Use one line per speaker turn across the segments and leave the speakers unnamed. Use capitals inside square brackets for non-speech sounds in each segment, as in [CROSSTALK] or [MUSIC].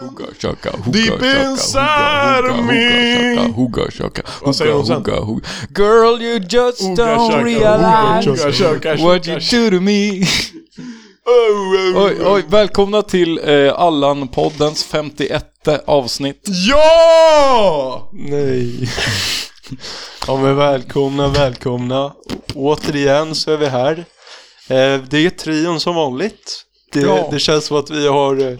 Hugga shaka,
Deep
hugga shaka,
inside
hugga,
me.
hugga, hugga shaka,
Vad
hugga
säger hon
shaka,
sen?
hugga, hugga. Girl you just
Hugga
don't
shaka,
realize
hugga shaka, hugga shaka,
what
shaka.
you do to me. oj, oj, välkomna till eh, Allan-poddens 51 avsnitt.
Ja!
Nej. Ja men välkomna, välkomna. Återigen så är vi här. Eh, Det är trion som vanligt. Det,
Ja.
det känns som att vi har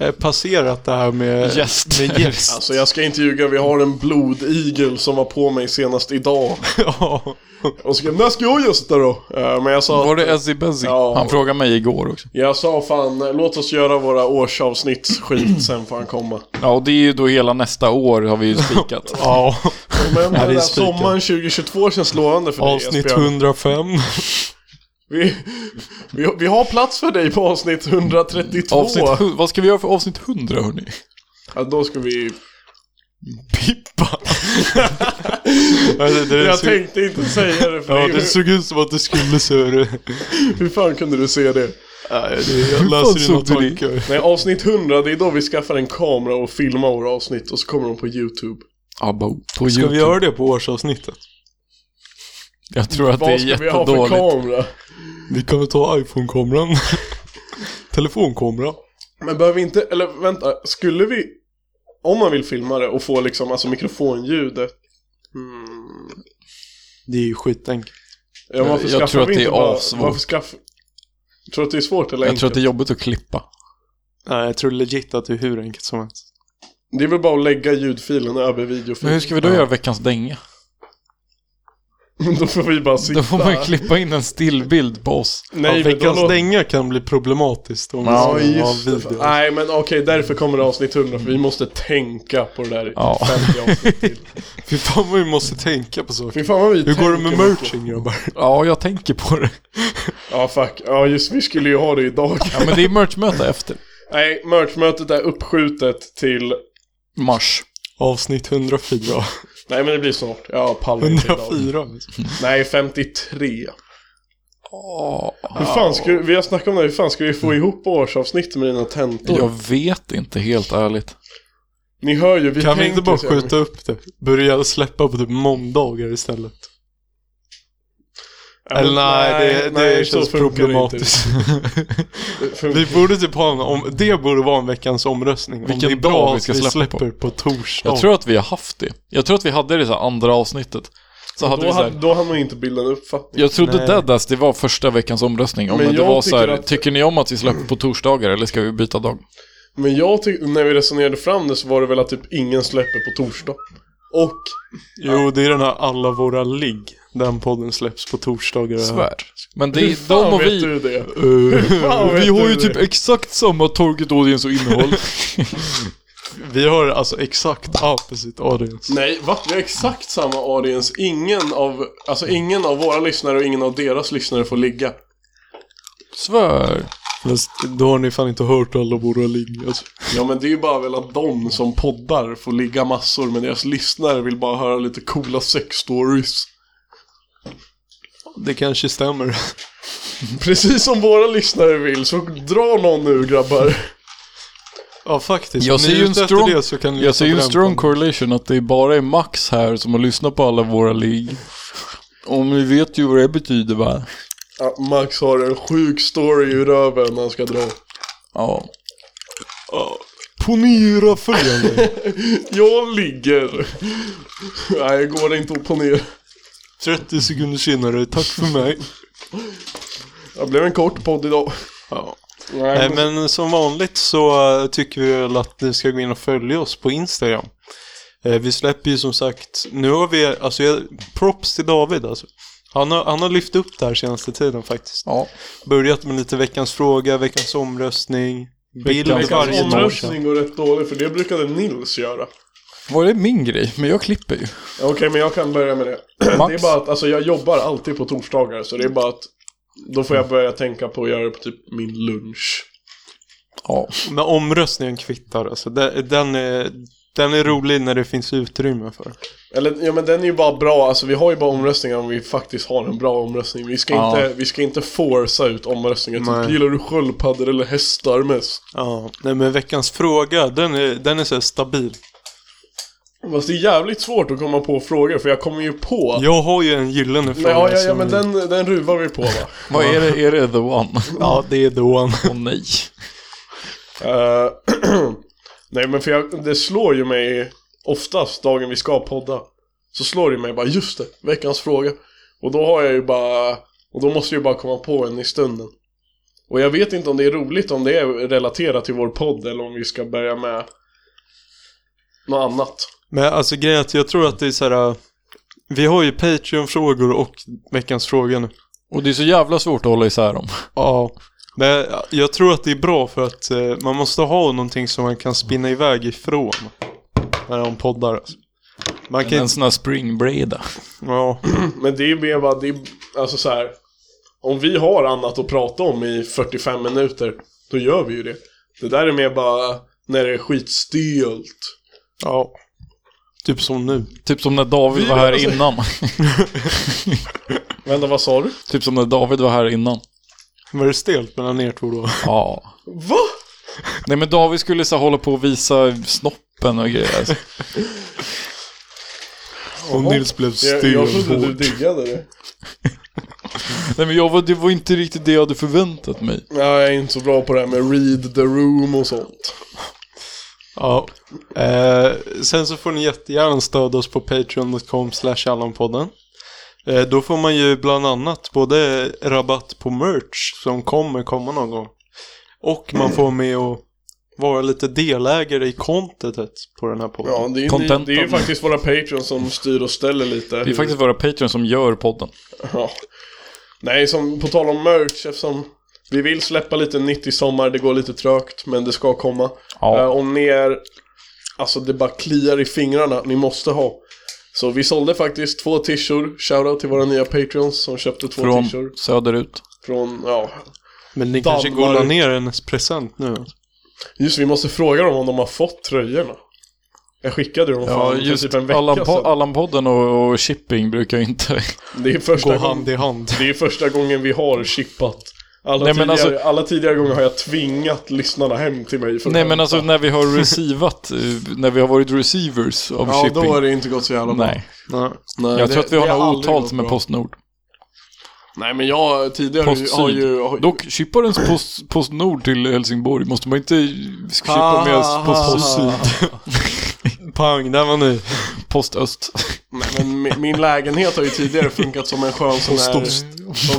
eh, passerat det här med
Gäster.
Med gäst.
Alltså jag ska inte ljuga, vi har en blodigel som var på mig senast idag.
[LAUGHS] ja.
Och så när ska jag gästa då? Eh, Men jag sa,
Var det Ezzy Bezzy?
Ja.
Han frågade mig igår också.
jag sa fan, låt oss göra våra årsavsnitts
[CLEARS THROAT]
skit, sen får han komma.
Ja, och det är ju då hela nästa år har vi ju spikat.
ja.
Men
det är
den där
spikat.
sommaren 2022 känns lovande för
Avsnitt
dig Esbjörn.
105.
vi, vi, vi har plats för dig på avsnitt 132.
Avsnitt, hu- vad ska vi göra för avsnitt 100 hörni?
Ja, då ska vi...
Pippa. Ja, det, det,
Jag
såg-
tänkte inte säga det för
ja,
dig.
det såg ut som att du skulle se hur det...
hur, hur fan kunde du se det?
Nej, det jag
fan
läser dina
såg du det?
tankar.
Nej, avsnitt 100, det är då vi skaffar en kamera och filmar våra avsnitt och så kommer de på YouTube.
Abba, på
Ska
YouTube.
vi göra det på årsavsnittet?
Jag tror att det är
Vad ska vi ha för
jättedåligt.
kamera?
Vi kan väl ta iPhone-kameran. [LAUGHS] Telefonkameran.
Men behöver vi inte, eller vänta, skulle vi... Om man vill filma det och få liksom, alltså mikrofonljudet. Mm.
Det är ju skitenkelt.
Ja, varför
Jag
skaffar
tror att
vi
det
inte
är
bara-
assvårt.
Varför skaffar... Tror du att det är svårt eller
Jag tror att
enkelt?
det är jobbigt att klippa.
Nej, jag tror legit att det är hur enkelt som helst.
det... är väl bara att lägga ljudfilen över
Men hur
videofilen.
ska vi då göra veckans dänga?
[LAUGHS] då får vi bara sitta.
Då får man ju klippa in en stillbild på oss.
Nej,
Nej,
ja,
men då
veckans
låter-
dänga kan bli problematiskt om
Ja,
vi ska ha
just det.
video.
Nej, men okej, därför kommer det avsnitt 100, för vi måste tänka på det där
Ja.
50 avsnitt till.
Fy fan vad vi måste tänka på saker.
Fy fan vad vi
Hur går det med
tänker mycket.
merchen grabbar?
Ja, jag tänker på det.
Ja, fuck. Ja, just vi skulle ju ha det idag.
Ja, men det är merchmöte efter.
[LAUGHS] Nej, merchmötet är uppskjutet till...
Mars.
Avsnitt 104.
[LAUGHS] Nej, men det blir snart. Ja, pallar inte idag.
104 alltså.
Nej, 53.
Åh,
Hur fan ska vi har snackat om det, hur fan ska vi få ihop årsavsnitt med dina tentor?
jag vet inte helt ärligt.
Ni hör ju, vi
Kan vi
tänker
inte bara
så jävla
skjuta upp det? Börja släppa på typ måndagar istället.
mycket.
Eller nej, det, det
så
känns
funkar det [LAUGHS]
problematiskt.
inte. Det funkar-
vi borde typ ha en om, det borde vara en veckans omröstning. Om
Vilken
det är bra
dag
att
vi
vi
ska släppa på.
släpper på, torsdag.
Jag tror att vi har haft det. Jag tror att vi hade det så här andra avsnittet. Så hade
Då,
vi så
hade,
här,
då hade man inte bildat en uppfattning.
jag trodde
Nej.
Deadass, det var första veckans omröstning. Om
Men
men det
jag
var så här,
tycker att-
tycker ni om att vi släpper på torsdagar eller ska vi byta dag?
Men jag tyckte, när vi resonerade fram det så var det väl att typ ingen släpper på torsdag. Och,
Jo, det är den här Alla våra ligg. Den podden släpps på torsdagar.
Svär. Men det
hur
är de
fan
och
vet
vi...
du det?
Eh,
vet
vi har ju
du
typ
det?
exakt samma target audience och innehåll.
Vi har alltså exakt opposite audience.
Nej, va? Vi har exakt samma audience. Ingen av, alltså ingen av våra lyssnare och ingen av deras lyssnare får ligga.
Svär.
Fast då har ni fan inte hört alla våra ligg. Alltså.
Ja, men det är ju bara väl att de som poddar får ligga massor, men deras lyssnare vill bara höra lite coola sex-stories.
Det kanske stämmer. [LAUGHS]
Precis som våra lyssnare vill, så dra någon nu grabbar.
Ja, faktiskt.
Jag
Om ni
ser
är
ju en
ute efter
strong-
Det, så kan ni
Jag ser ju en
lyssna på
strong
den
correlation att det bara är Max här som har lyssnat på alla våra ligg. Om ni vet ju vad det betyder va?
Ja, Max har en sjuk story i röven han ska dra.
Ja.
podden. Ponera följande. [LAUGHS]
Jag ligger. Nej, går det inte att ponera.
30 sekunder senare, tack för mig.
Det blev en kort podd idag.
Ja.
Nej,
Nej,
men-
Eh, men som vanligt så eh, tycker vi väl att ni ska gå in och följa oss på Instagram. Eh, Vi släpper ju som sagt, nu har vi, alltså jag, props till David alltså. Han har, han har lyft upp det här senaste tiden faktiskt.
ja.
Börjat med lite veckans fråga, veckans omröstning, bild
Veckans
varje
Veckans
torsdag.
omröstning går rätt dålig för det brukade Nils göra.
Var det min grej? Men jag klipper ju.
Okej, men jag kan börja med det. [CLEARS THROAT] Det är
Max?
bara att alltså, jag jobbar alltid på torsdagar så det är bara att då får jag börja tänka på att göra det på typ min lunch.
Ja.
Men omröstningen kvittar alltså. Den, den är, Den är rolig när det finns utrymme för.
Eller, ja men den är ju bara bra, alltså vi har ju bara omröstningar om vi faktiskt har en bra omröstning. Vi ska,
Ja.
inte, vi ska inte forsa ut omröstningar,
Nej.
typ gillar du sköldpaddor eller hästar mest?
Ja, nej men veckans fråga, den är, den är så här stabil.
Fast det är jävligt svårt att komma på frågor, för jag kommer ju på...
Jag har ju en gyllene fråga.
Nej, ja, ja, ja
som-
men den, den ruvar vi på va?
Vad är det? Är det the one?
Ja, det är då.
Åh nej.
Eh, [CLEARS THROAT] Nej men för jag, det slår ju mig oftast dagen vi ska podda Så slår det mig bara just det, veckans fråga Och då har jag ju bara Och då måste jag ju bara komma på en i stunden Och jag vet inte om det är roligt om det är relaterat till vår podd eller om vi ska börja med Något annat
Men alltså grejen är att jag tror att det är så här. äh, Vi har ju Patreon-frågor och veckans fråga nu.
Och det är så jävla svårt att hålla isär dem.
Ja. Men jag tror att det är bra för att eh, man måste ha någonting som man kan spinna iväg ifrån. När de poddar alltså. Man kan
En
inte...
sån här springbreda.
Ja.
Men det är mer bara, det är, alltså så här. Om vi har annat att prata om i 45 minuter Då gör vi ju det Det där är mer bara när det är skitstelt
ja. Typ som nu.
Typ som när David
Vi
var här
alltså-
innan.
Vänta, vad sa du?
typ som när David var här innan.
Var det stelt mellan er två då?
Ja.
Va?
Nej men David skulle så här hålla på och visa snoppen och grejer. [LAUGHS] Alltså.
Och Nils blev
Jag, jag trodde du
stel.
diggade det.
Nej men jag var, det var inte riktigt det jag hade förväntat mig.
Nej, jag är inte så bra på det här med read the room och sånt.
Ja. Eh, sen så får ni jättegärna stödja oss på patreon.com slash allanpodden. Eh, då får man ju bland annat både rabatt på merch som kommer komma någon gång. Och man får med och vara lite delägare i contentet på den här podden.
Ja, det är,
Contentan.
ni, det är ju faktiskt våra patrons som styr och ställer lite.
Det är faktiskt våra Patreon som gör podden.
Ja. Nej, som, på tal om merch, eftersom vi vill släppa lite nytt i sommar, det går lite trögt, men det ska komma. Eh,
Ja.
om ni är, alltså det bara kliar i fingrarna, ni måste ha. Så vi sålde faktiskt två t-shirts, shoutout till våra nya patreons som köpte två
Från
t-shirts.
söderut.
Från, ja.
Men ni kanske
Danmark.
går ner en present nu?
Just vi måste fråga dem om de har fått tröjorna. Jag skickade dem
Ja,
fan för
just
typ en vecka
Allan-
sedan.
Allan-podden och, och shipping brukar ju inte...
Det är,
Gå
första gången,
hand i hand.
det är första gången vi har chippat. Alla,
Nej, men
tidigare,
alltså-
alla tidigare gånger har jag tvingat lyssnarna hem till mig för att
Nej men
hämta.
alltså när vi har receivat, eh, när vi har varit receivers av
Ja,
shipping.
då har det inte gått så jävla bra.
Nej,
Nej.
Nej,
jag
det-
tror att vi har
det
något
aldrig
otalt
gått
med
bra.
Postnord.
Nej, men jag tidigare
Post
har
Syd.
ju... Har,
Dock, shippar ens post, Postnord till Helsingborg måste man inte shippa med
Ah,
Post
ah,
Syd,
Pang, där var ni.
Post Öst,
nej, men min, min lägenhet har ju tidigare funkat som en skön sån här...
Postost.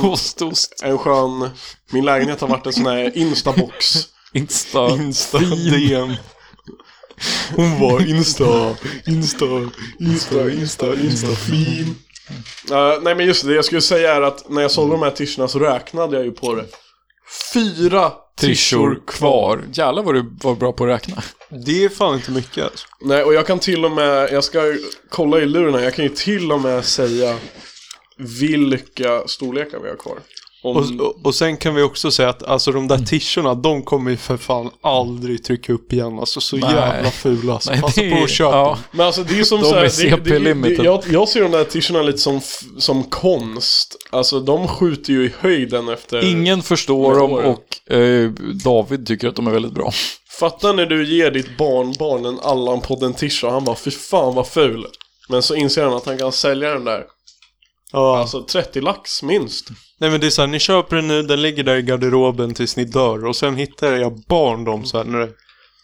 [LAUGHS] Post Ost,
En skön... Min lägenhet har varit en sån här instabox.
Insta.
Insta DM. Hon var Insta, Insta, Insta, Insta, Insta, fin.
Eh, nej men just det, det jag skulle säga är att när jag sålde de här t-shirtarna så räknade jag ju på det. Fyra
Trishor kvar. Jävlar vad du var bra på att räkna.
Det är fan inte mycket alltså.
Nej, och jag kan till och med, jag ska ju kolla i luren här, jag kan ju till och med säga vilka storlekar vi har kvar. Om, Mm.
och, och, och sen kan vi också säga att alltså de där t-shirtarna, de kommer ju för fan aldrig trycka upp igen. Alltså så
Nej.
jävla fula alltså.
Nej,
Passa
det-
på att köpa.
ja.
men alltså det är ju som
De
så här,
är
det, det, det,
CP-limited.
jag, jag ser de där t-shirtarna lite som, f- som konst. Alltså de skjuter ju i höjden efter...
Ingen förstår
Med
dem
åren.
och eh, David tycker att de är väldigt bra.
Fatta när du ger ditt barnbarn en Allan-podden t-shirt och han bara fy fan vad ful. Men så inser han att han kan sälja den där.
Ja.
Alltså 30 lax minst.
Nej men det är så här, ni köper den nu, den ligger där i garderoben tills ni dör. Och sen hittar jag barn dem så här när det,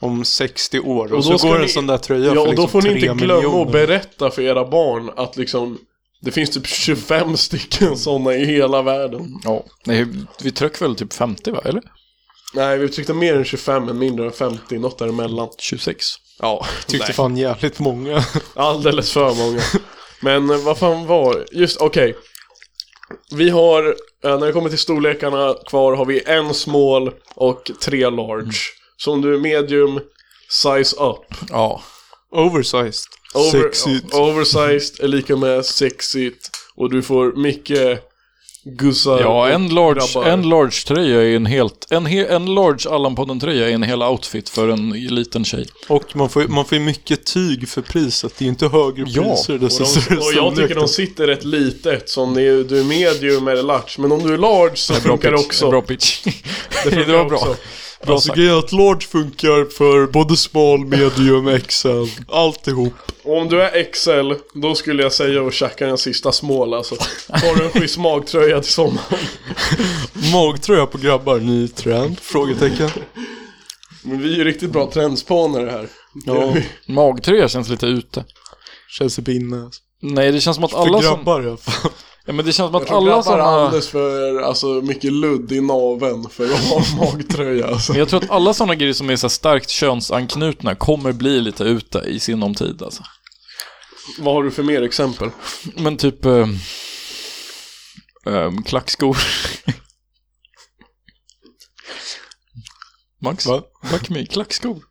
om 60 år. Och,
Och då
så
ska
går en
ni-
sån där tröja
Ja,
för
och
liksom
då får ni
3
inte glömma
miljoner.
att berätta för era barn att liksom det finns typ 25 [LAUGHS] stycken sådana i hela världen.
Ja. Nej, vi tryck väl typ 50 va, eller?
Nej, vi tryckte mer än 25 men mindre än 50, något däremellan.
26.
Ja,
Tyckte
nej.
fan
[LAUGHS]
jävligt många.
alldeles för många. Men eh, vad fan var Just, okej. Vi har, eh, när det kommer till storlekarna kvar har vi en small och tre large.
Mm.
Så om du är medium, size up.
Ja.
Oversized.
Over,
Sexigt.
Oversized är lika med sexigt och du får mycket gussar
Ja,
och
en large,
Eh, grabbar.
en large tröja är en helt... En, he, en large Allan-podden-tröja är en hel outfit för en liten tjej.
Och man får, man får ju mycket tyg för priset. Det är ju inte högre
Ja,
priser i
Och,
dessa
de, och jag tycker de sitter rätt litet, som det är, du är medium eller large. Men om du är large så funkar det
pitch.
också.
Bra
[LAUGHS]
pitch.
Det
Det
funkar
var bra.
också.
Bra
Alltså
sagt.
grejen är att large funkar för både small, medium, XL, alltihop.
Och om du är XL, då skulle jag säga och tjacka den sista smål alltså. Har du en schysst magtröja till sommaren?
Magtröja på grabbar, ny trend? Frågetecken.
Men vi är ju riktigt bra trendspanare här.
Ja.
Magtröja känns lite ute.
Känns i alltså. pinne.
Nej, det känns som att
För
alla som...
grabbar i alla fall.
Ja, men det känns som
Jag
att
tror grabbar
alla som har...
alldeles för alltså, mycket ludd i naveln för att ha en magtröja alltså.
Men jag tror att alla sådana grejer som är så här starkt könsanknutna kommer bli lite ute i sinom tid alltså.
Vad har du för mer exempel?
Men typ... Eh, ehm, klackskor. Max?
Va?
Max med klackskor.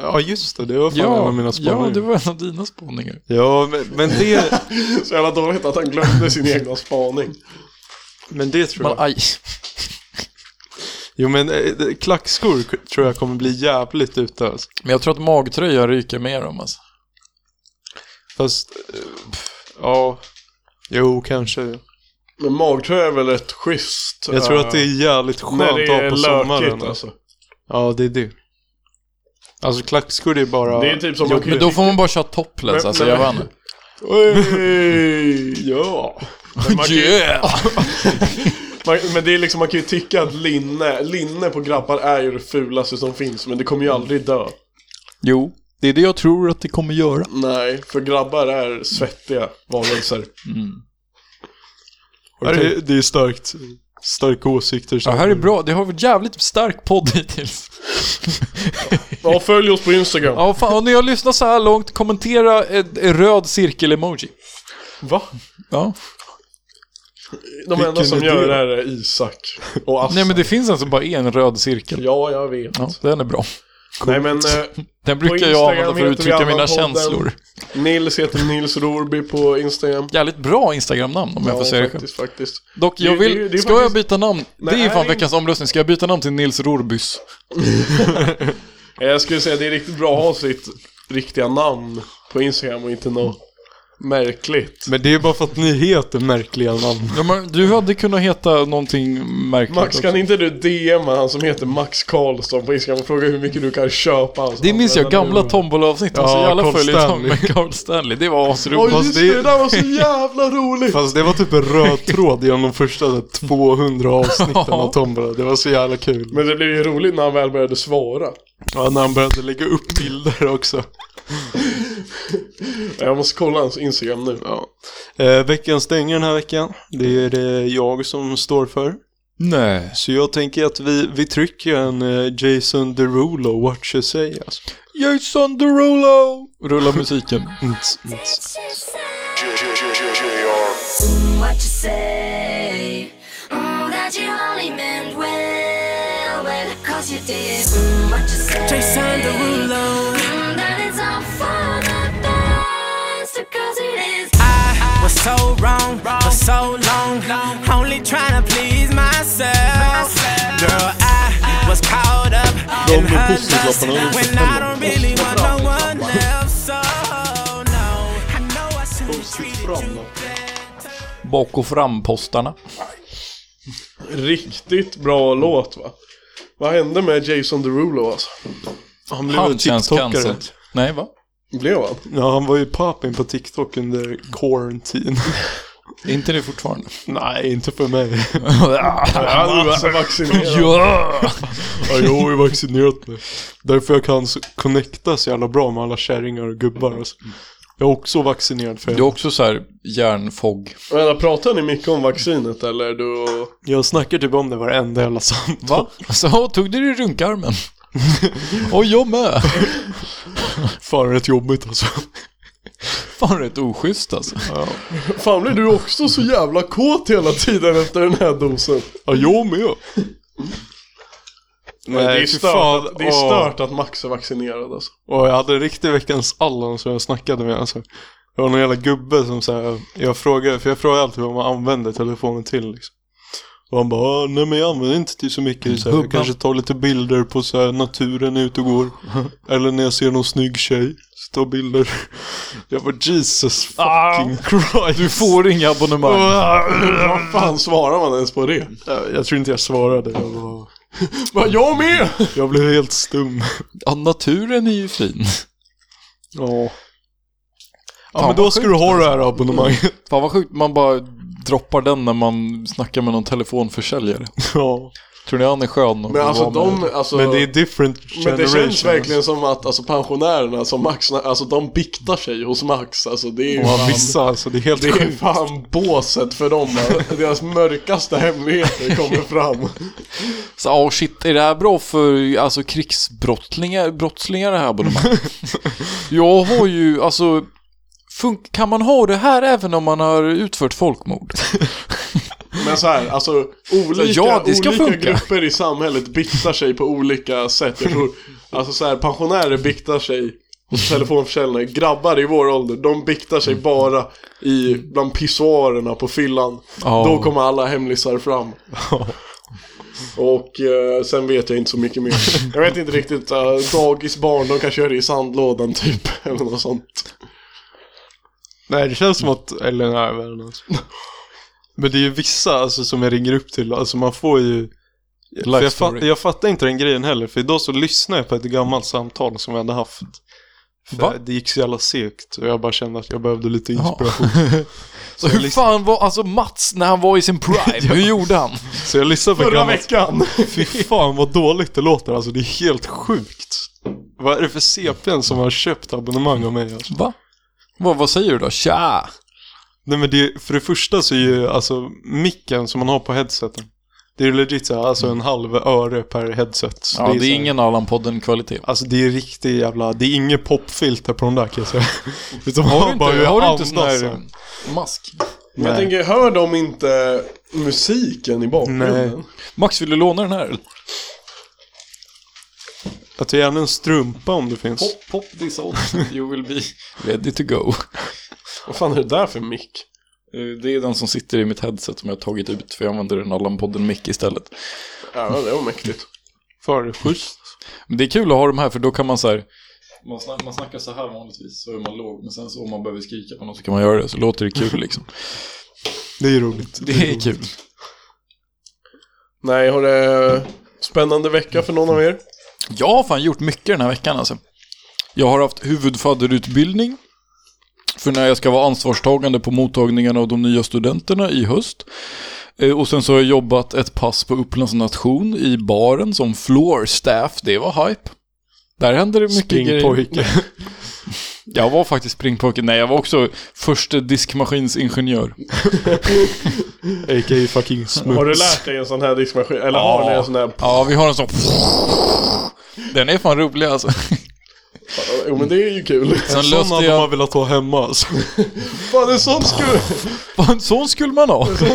Ja just det, det var fan en
Ja,
av mina
ja,
spaningar.
det var en av dina spaningar.
ja men, men, det,
Så jävla dåligt att han glömde
[LAUGHS]
sin egna spaning.
men det tror
Men
jag.
aj.
Jo men eh, det- klackskor k- tror jag kommer bli jävligt ute alltså.
Men jag tror att magtröja ryker mer om alltså.
Fast, eh, pff, ja. Jo, kanske.
Men magtröja är väl rätt schysst? eh,
Jag tror att det är jävligt skönt
när
att
det är
ha på sommaren.
lökigt alltså.
Ja, det är det. Alltså klackskor är bara...
Det är typ som
Jo,
man kan-
Men då får man bara köra topless
Men-
alltså,
men-
jag vann.
Oj, ja. Men, man kan, ju-
Yeah!
man, men det är liksom, man kan ju tycka att linne, linne på grabbar är ju det fulaste som finns, men det kommer ju aldrig dö.
[LAUGHS] Jo, det är det jag tror att det kommer göra.
Nej, för grabbar är svettiga varelser.
Ja, det, det är starkt. Starka åsikter.
Det här är bra, det har varit jävligt stark podd [LAUGHS] hittills.
Ja, följ oss på Instagram.
Ja, fan, och när jag lyssnar så här långt, kommentera ett, en röd cirkel-emoji.
Va?
Ja.
De enda
Vilken
som
idé.
gör det här är Isak och Assa.
Nej, men det finns en som bara är en röd cirkel.
Ja, jag vet.
Ja, den är bra.
Nej, men eh,
Den
På
brukar jag
Instagram
använda för att
heter vi
uttrycka mina
Allan-podden.
känslor.
Nils heter Nils Rorby på Instagram.
Jävligt bra Instagram-namn om jag får säga det själv.
faktiskt, faktiskt.
Dock, jag
Det-
vill...
det är- det är
ska jag
faktiskt-
byta namn? det är ju
Nej.
fan veckans omröstning. Ska jag byta namn till Nils Rorbys?
Eh, [LAUGHS] Jag skulle säga det är riktigt bra att ha sitt riktiga namn på Instagram och inte något märkligt.
Men det är bara för att ni heter märkliga namn.
Ja, men du hade kunnat heta någonting märkligt
Max,
också.
kan inte du DMa han som heter Max Karlsson på Instagram och fråga hur mycket du kan köpa? Alltså,
Det minns jag, gamla Tombola-avsnitt. Alltså,
Ja,
jävla
Carl
följetong
Stanley.
med [LAUGHS] Carl Stanley. Det var asroligt.
Oj,
Fast
just
det-
det, det där var så jävla roligt!
Fast det var typ
[LAUGHS]
en röd tråd genom de första där 200 avsnitten av Tombola. Det var så jävla kul.
Men det blev ju roligt när han väl började svara.
Ja, när han började lägga upp bilder också.
Jag måste kolla hans Instagram nu.
Ja. Eh, veckan stänger den här veckan. Det är det jag som står för.
Nej.
Så jag tänker att vi, vi trycker en eh, Jason Derulo, What You Say. Alltså.
Jason Derulo! Rulla musiken.
Nts, nts.
What you say? Mm, that you only meant well, well, cause you did. Mm, what you say?
Jason Derulo.
Mm, that it's all for the best, cause it is.
I was so wrong for so long, only trying to please myself. Girl, I was caught up in
med
her lust
pusselklapparna under fötterna.
when I don't really want no one else. So no, I know I should have treated you better.
Bak och frampostarna.
Riktigt bra låt va? Vad hände med Jason Derulo alltså?
Han blev
Han
väl
känns
TikTokare.
cancelled. Nej, va?
Blev han?
Ja, han var ju poppin på TikTok under quarantine.
Är inte det fortfarande? [LAUGHS]
Nej, inte för mig.
Han var vaccinerad.
ja!
[LAUGHS] Ja, jag har ju vaccinerat mig. Därför jag kan så- connecta så jävla bra med alla kärringar och gubbar. Alltså. Jag är också vaccinerad för
Det är också så här hjärnfog.
Vänta, pratar ni mycket om vaccinet eller? Du...
Jag snackar typ om det varenda jävla samtal.
Va? Så Alltså, tog du det i [LAUGHS] runkarmen? Och jag med.
[LAUGHS] Fan, rätt jobbigt alltså.
Fan rätt oschysst alltså.
Fan blir du också så jävla kåt hela tiden efter den här dosen?
Ja, jag med.
Nej, det, är
fy
stört,
fan.
att, det är
Åh.
stört att Max är vaccinerad alltså.
Och jag hade en riktig veckans Allan som jag snackade med alltså. Det var någon jävla gubbe som så här, jag frågade, för jag frågar alltid vad man använder telefonen till liksom. Och han bara, "Ah, nej men jag använder inte till så mycket. Så här, jag
Gubben.
kanske tar lite bilder på så här, naturen ute
[LAUGHS]
och går. Eller när jag ser någon snygg tjej. Så tar bilder. Jag bara, Jesus fucking Christ.
Ah. Du får inga abonnemang.
Vad fan svarar man ens på det?
Jag, jag tror inte jag svarade. Jag, bara,
Bara, jag med!
jag blev helt stum.
Ja, naturen är ju fin.
Ja. Ja
Fan,
men då
vad
ska
sjukt
du ha det här abonnemanget.
Fan vad sjukt, man bara droppar den när man snackar med någon telefonförsäljare.
[LAUGHS] Ja.
Tror ni han är skön? att
Men alltså
vara med?
de, alltså
Men det är different generation.
Men det känns verkligen som att alltså, pensionärerna som Max, alltså de biktar sig hos Max. Alltså det är ju
Och
fan,
vissa alltså, det är helt
det är
sjukt.
fan båset för dem. va? Deras mörkaste hemligheter kommer fram.
Så, ah shit, är det här bra för alltså, krigsbrottslingar brottslingar det här [LAUGHS] abonnemanget? Jag har ju, alltså, fun- kan man ha det här även om man har utfört folkmord?
Men så här, alltså olika,
Ja, det ska
olika
funka.
grupper i samhället biktar sig på olika sätt. Jag tror, alltså så här, pensionärer biktar sig hos telefonförsäljare. Grabbar i vår ålder, de biktar sig bara i, bland pissoarerna på fyllan.
Ja.
Då kommer alla hemlisar fram. Och eh, sen vet jag inte så mycket mer. Jag vet inte riktigt, eh, dagisbarn, de kanske gör det i sandlådan typ, [LAUGHS] eller något sånt.
Nej, det känns som att, eller nej, världen alltså. Men det är ju vissa alltså, som jag ringer upp till, alltså man får ju... För jag,
story.
fatt, jag fattar inte den grejen heller, för idag så lyssnade jag på ett gammalt samtal som vi hade haft. För
Va?
Det gick så jävla segt och jag bara kände att jag behövde lite
Ja.
inspiration.
Så hur fan var, alltså Mats när han var i sin [LAUGHS] prime, hur gjorde han?
Så jag lyssnade på ett
Förra
gammalt...
veckan!
Fy fan vad dåligt det låter, alltså det är helt sjukt. Vad är det för CPn som har köpt abonnemang av mig alltså?
Va? Vad, vad säger du då? Tja!
Nej men det, för det första så är ju alltså micken som man har på headseten. Det är ju legit så här, alltså en halv öre per headset. Så
Ja,
så
det är
här-
ingen Allan-podden-kvalitet.
Alltså det är riktigt jävla, det är inget popfilter på de där kan
[LAUGHS]
jag säga. Utan man
Har du
bara
inte,
hur
har du inte sån
andas
här
den.
mask?
Men jag
Nej.
tänker, hör de inte musiken i bakgrunden?
Nej.
Max, vill du låna den här?
Jag tar gärna en strumpa om det finns.
pop this out, [LAUGHS] you will be ready to go.
Vad fan är det där för mick?
Eh, Det är den som sitter i mitt headset som jag har tagit ut för jag använder en Allan-podden mick istället.
Ja, det var mäktigt.
För schysst.
Men det är kul att ha de här för då kan man så här... Man, snack, man snackar så här vanligtvis så är man låg men sen så om man behöver skrika på något så kan man göra det så låter det kul [LAUGHS] liksom.
Det är ju roligt.
Det är kul.
Nej, har det spännande vecka för någon av er?
Jag har fan gjort mycket den här veckan alltså. Jag har haft huvudfadderutbildning. För när jag ska vara ansvarstagande på mottagningen av de nya studenterna i höst. Eh, Och sen så har jag jobbat ett pass på Upplands nation i baren som floor staff. Det var hype. Där hände det mycket grejer.
Springpojke. [LAUGHS]
Jag var faktiskt springpojke. Nej, jag var också förste diskmaskinsingenjör.
A.k.a. fucking smuts.
Har du lärt dig en sån här diskmaskin? Eller har ni en sån här?
Ja, vi har en sån... Den är fan rolig [LAUGHS] alltså.
Jo men det är ju [LAUGHS] kul.
Sen
Sån
löste
hade man
jag...
velat ha hemma alltså.
Fan en sån skulle...
En sån skulle man ha. Sen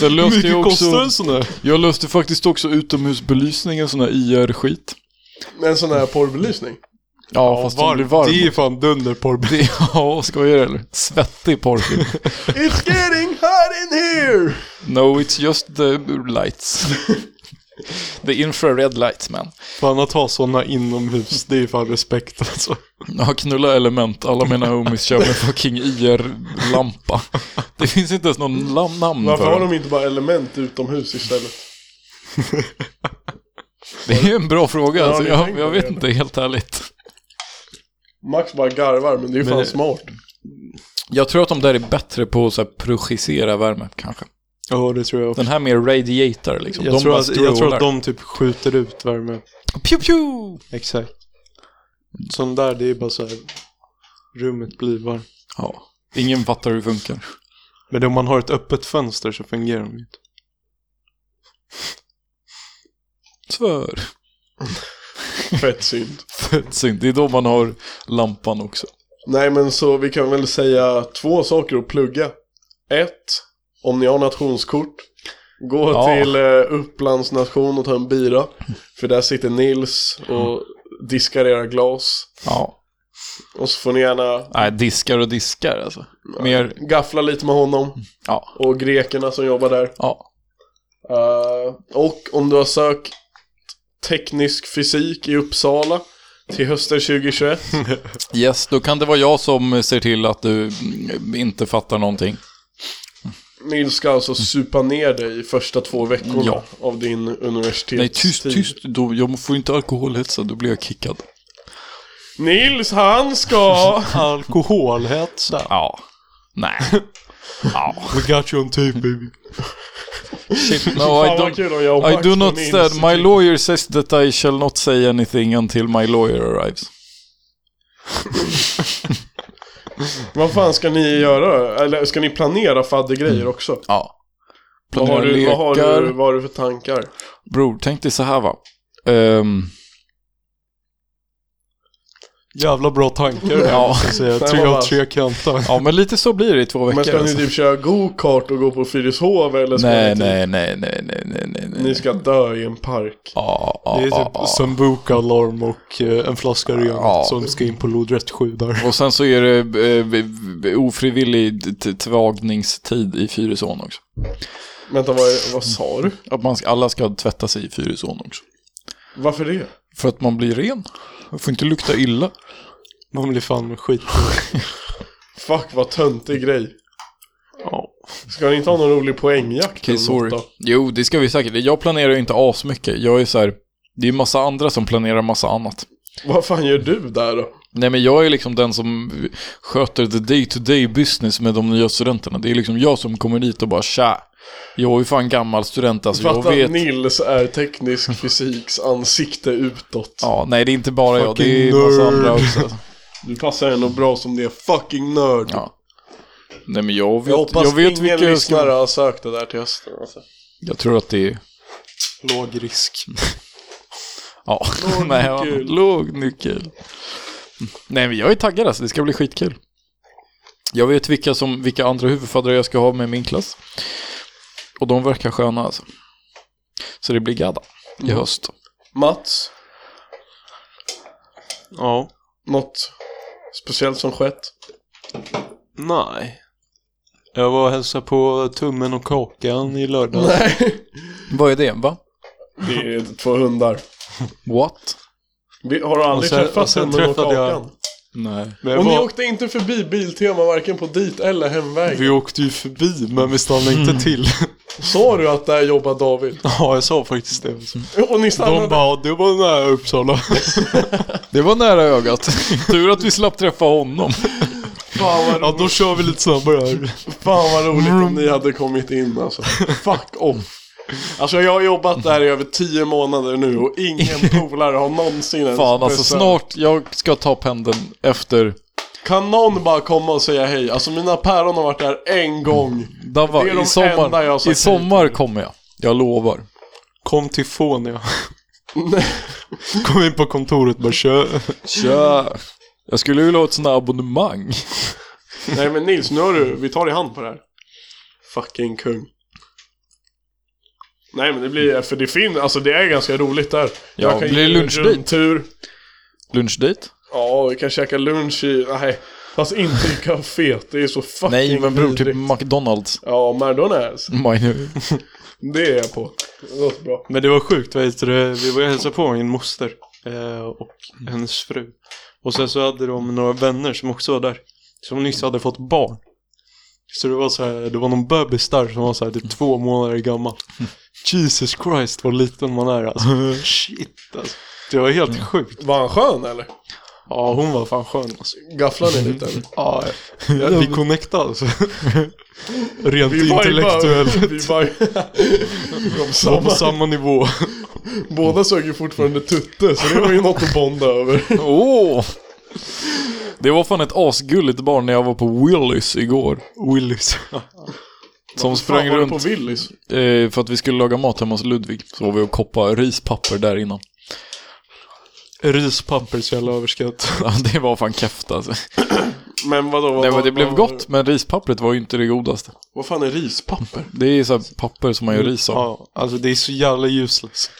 Hur
löste
mycket
jag
kostar
också...
en sån där?
Jag löste faktiskt också utomhusbelysning, en sån här IR-skit.
En sån här porrbelysning.
Ja, fast den blir varm.
Det är fan dunderporr.
Det, ja, skojar du eller? Svettig porrfilm.
It's getting hot in here!
[LAUGHS] no, it's just the lights. [LAUGHS] the infrared lights, man.
Fan att ha såna inomhus, det är fan respekt alltså.
Ja, knulla element. Alla mina homies kör med fucking IR-lampa. Det finns inte ens någon lam- namn
Varför
för
har
den.
de inte bara element utomhus istället?
Det är en bra fråga.
Ja,
alltså,
ni
jag,
tänker
jag
det,
vet inte, helt ärligt.
Max bara garvar men det är ju fan
Men-
smart.
Jag tror att de där är bättre på att så här, projicera värme, kanske.
Ja det tror jag också.
Den här mer radiator, liksom.
Jag,
de
tror
bara
att, jag tror
strålar.
att de typ skjuter ut värme.
Pew, pew!
Exakt. Sån där, det är bara så här. Rummet blir varmt.
Ja. Ingen fattar hur det funkar.
Men om man har ett öppet fönster så fungerar de ju inte.
Svör.
Fett synd.
Fett synd. Det är då man har lampan också.
Nej men så vi kan väl säga två saker att plugga. Ett, om ni har nationskort, gå
Ja.
till eh, Upplands nation och ta en bira. För där sitter Nils och diskar era glas.
Ja.
Och så får ni gärna
Nej, diskar och diskar alltså. Mer,
gaffla lite med honom
ja,
och grekerna som jobbar där.
ja.
Eh, och om du har sökt teknisk fysik i Uppsala till hösten 2021
Yes, då kan det vara jag som ser till att du mm, inte fattar någonting.
Nils ska alltså supa ner dig i första två veckorna
Ja.
av din universitetstid.
Nej, tyst, tyst. Då, jag får inte alkoholhetsa, då blir jag kickad.
Nils, han ska...
Alkoholhetsa.
Ja.
[LAUGHS]
Nej. Ja.
We got you on tape baby.
Shit, no, I
Fan vad
don't...
kul om jag och
I
Max
do
och
not
Nils
stand. My
sitter-
lawyer says that I shall not say anything until my lawyer arrives.
Vad fan ska ni göra? Eller ska ni planera faddergrejer också?
Ja.
Vad har, du, vad, har
lekar.
du, vad har du för tankar?
Bror, tänk dig så här va. Ehm,
Jävla bra tankar.
ja.
Så att säga.
Fan,
Tre
vad
av
vass.
tre kanter.
ja, men lite så blir det i två veckor.
Men ska ni
alltså.
typ köra go-kart och gå på Fyrishov eller ska
nej,
ni, typ-
nej, nej, nej, nej, nej, nej, nej.
ni ska dö i en park?
Ja,
Det
ja,
är
ja,
typ
ja.
Sambuca alarm och eh, en flaska rent
Ja.
som ska in på lodrätt 7 där.
Och sen så är det eh, v- v- ofrivillig t- tvagningstid i Fyrisån också.
Vänta, vad, är, vad sa du?
Att man ska, alla ska tvätta sig i Fyrisån också.
Varför det?
För att man blir ren. Man får inte lukta illa.
Man blir fan skit.
Fuck vad töntig grej.
Ja.
Ska ni inte ha någon rolig poängjakt?
Okej,
eller
sorry.
något då?
Jo, det ska vi säkert. Jag planerar ju inte asmycket. Jag är så här, det är massa andra som planerar massa annat.
Vad fan gör du där då?
Nej, men jag är liksom den som sköter the day to day business med de nya studenterna. Det är liksom jag som kommer dit och bara tja. Jag är ju fan gammal student alltså, jag
Fatta att
vet.
Nils
[LAUGHS]
är teknisk fysiks ansikte utåt.
Ja, nej det är inte bara jag,
Fucking
det är massa
nerd.
andra också.
Du passar ändå bra som det är fucking nörd.
Ja. Nej men jag vet,
Jag hoppas
jag vet
ingen
vilka jag
lyssnare
ska...
har sökt det där till hösten. Alltså.
Jag tror att det är...
Låg risk.
[LAUGHS] Ja.
Låg
Nej, ja.
nyckel.
Låg nyckel. Nej men jag är taggad alltså, det ska bli skitkul. Jag vet vilka, som, vilka andra huvudfaddrar jag ska ha med i min klass. Och de verkar sköna alltså. Så det blir gadda i höst.
Mats,
Ja.
något speciellt som skett?
Nej. Jag var och hälsade på tummen och kakan i lördags.
Nej.
Vad är det? Va?
Det är två hundar.
What?
Vi har du aldrig
Och sen- och
träffat
sen
henne och
träffade jag-
Kakan?
Nej.
Men jag
Och ni
var...
åkte inte förbi Biltema varken på dit eller hemväg?
Vi åkte ju förbi men vi stannade
Mm.
inte till. [LAUGHS]
Sa du att där jobbar David?
Ja, jag sa faktiskt det.
Och ni
De
stannade?
bara, det var nära Uppsala.
Det var nära ögat. [LAUGHS] Tur att vi slapp träffa honom.
Fan vad,
Ja, då kör vi lite snabbare här.
fan vad roligt om ni hade kommit in alltså. Fuck off. Alltså jag har jobbat där i över tio månader nu och ingen
[LAUGHS]
polare har någonsin ens
Fan alltså
besökt.
snart, jag ska ta pendeln efter...
Kan någon bara komma och säga hej? Alltså mina päron har varit där en gång.
Dava,
Det är de
i
enda jag
sommar,
har sagt
i sommar kommer jag. Jag lovar.
Kom till Fånia. Kom in på kontoret bara kör.
Tja! Jag skulle vilja ha ett sånt här abonnemang.
Nej men Nils, nu har du, vi tar i hand på det här. Fucking kung. Nej men det blir, för det finns, alltså det är ganska roligt där.
Ja,
Jag kan
blir det
ge
lunchdate?
en Tur.
Lunchdate?
Ja, vi kan käka lunch i, nej. Fast inte i kaféet, det är så fucking
Nej, men bror, typ
vidrigt.
McDonalds.
Ja, McDonalds.
Mine.
Det är jag på. Det låter bra.
Men det var sjukt, vad heter det? Vi var och hälsade på min moster eh, och
Mm.
hennes fru. Och sen så hade de några vänner som också var där. Som nyss hade fått barn. Så det var så här, det var någon bebis där som var så här
Mm.
typ två månader gammal. Jesus Christ vad liten man
[LAUGHS]
är alltså. Shit alltså. Det var helt
Mm.
sjukt.
Var han skön eller?
Ja hon var fan skön alltså.
Gafflade ni
[LAUGHS]
lite eller?
Ja,
[LAUGHS]
vi connectade alltså. Rent
Vi var ju bara-
intellektuellt.
[LAUGHS] Vi var ju... De
Var på
samma,
samma nivå. [LAUGHS]
båda sög ju fortfarande tutte, så det var ju något att bonda över.
Åh! Det var fan ett asgulligt barn när jag var på Willys igår.
Willys.
Som
Fan,
sprang
var du på liksom.
runt
Willys?
eh, för att vi skulle laga mat hemma hos Ludvig. Så var vi och koppade rispapper där innan. [LAUGHS]
Rispapper så jävla överskattat.
Ja, Det var fan keft alltså.
Men vadå? Vad,
Nej, men det
vad-
blev
vad-
gott, men rispappret var ju inte det godaste.
Vad fan är rispapper?
Det är så här papper som
Mm,
man gör ris av.
Ja, alltså det är så jävla useless.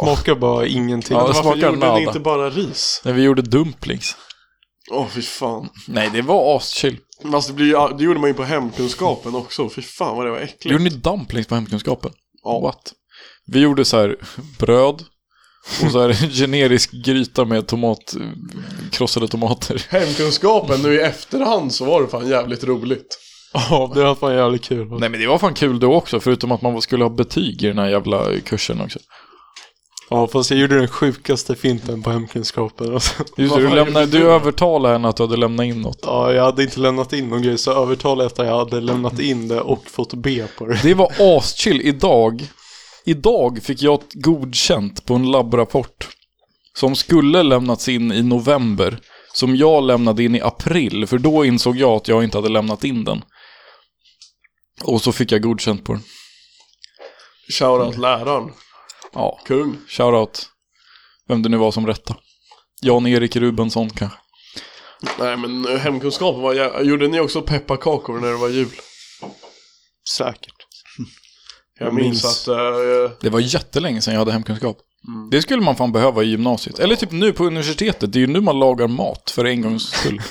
Smakar bara ingenting.
Ja, det
Ja,
Varför
smakar
gjorde
nada.
ni inte bara ris?
När vi gjorde dumplings.
Åh fy fan.
Nej, det var aschill.
Fast det, blir, ju- det gjorde man ju på hemkunskapen också. Fy fan vad det var äckligt.
Gjorde ni dumplings på hemkunskapen?
Ja.
What? Vi gjorde så här bröd och så här [LAUGHS] en generisk gryta med tomat, krossade tomater.
Hemkunskapen nu i efterhand så var det fan jävligt roligt.
[LAUGHS] Ja, det var fan jävligt kul.
Nej men det var fan kul då också, förutom att man skulle ha betyg i den här jävla kursen också.
Ja, fast jag gjorde den sjukaste finten på hemkunskapen. [LAUGHS] Alltså.
Just det,
Vad
du,
fan
lämnade,
gjorde
du
du?
övertalade henne att du hade lämnat in något.
Ja, jag hade inte lämnat in någon grej, så övertalade jag att jag hade lämnat in det och fått B på [LAUGHS] det.
Det var aschill idag. Idag fick jag ett godkänt på en labbrapport som skulle lämnats in i november. Som jag lämnade in i april, för då insåg jag att jag inte hade lämnat in den. Och så fick jag godkänt på den. Mm.
Shoutout läraren.
Ja,
Kung.
shoutout. Vem det nu var som rätta. Jan-Erik Rubensson kanske.
Nej men eh, hemkunskapen var jä... Gjorde ni också pepparkakor när det var jul?
Säkert.
Jag
Jag
minns, att...
minns.
eh,
Det var jättelänge sedan jag hade hemkunskap. Det skulle man fan behöva i gymnasiet. Eller typ nu på universitetet, det är ju nu man lagar mat för en gångs skull.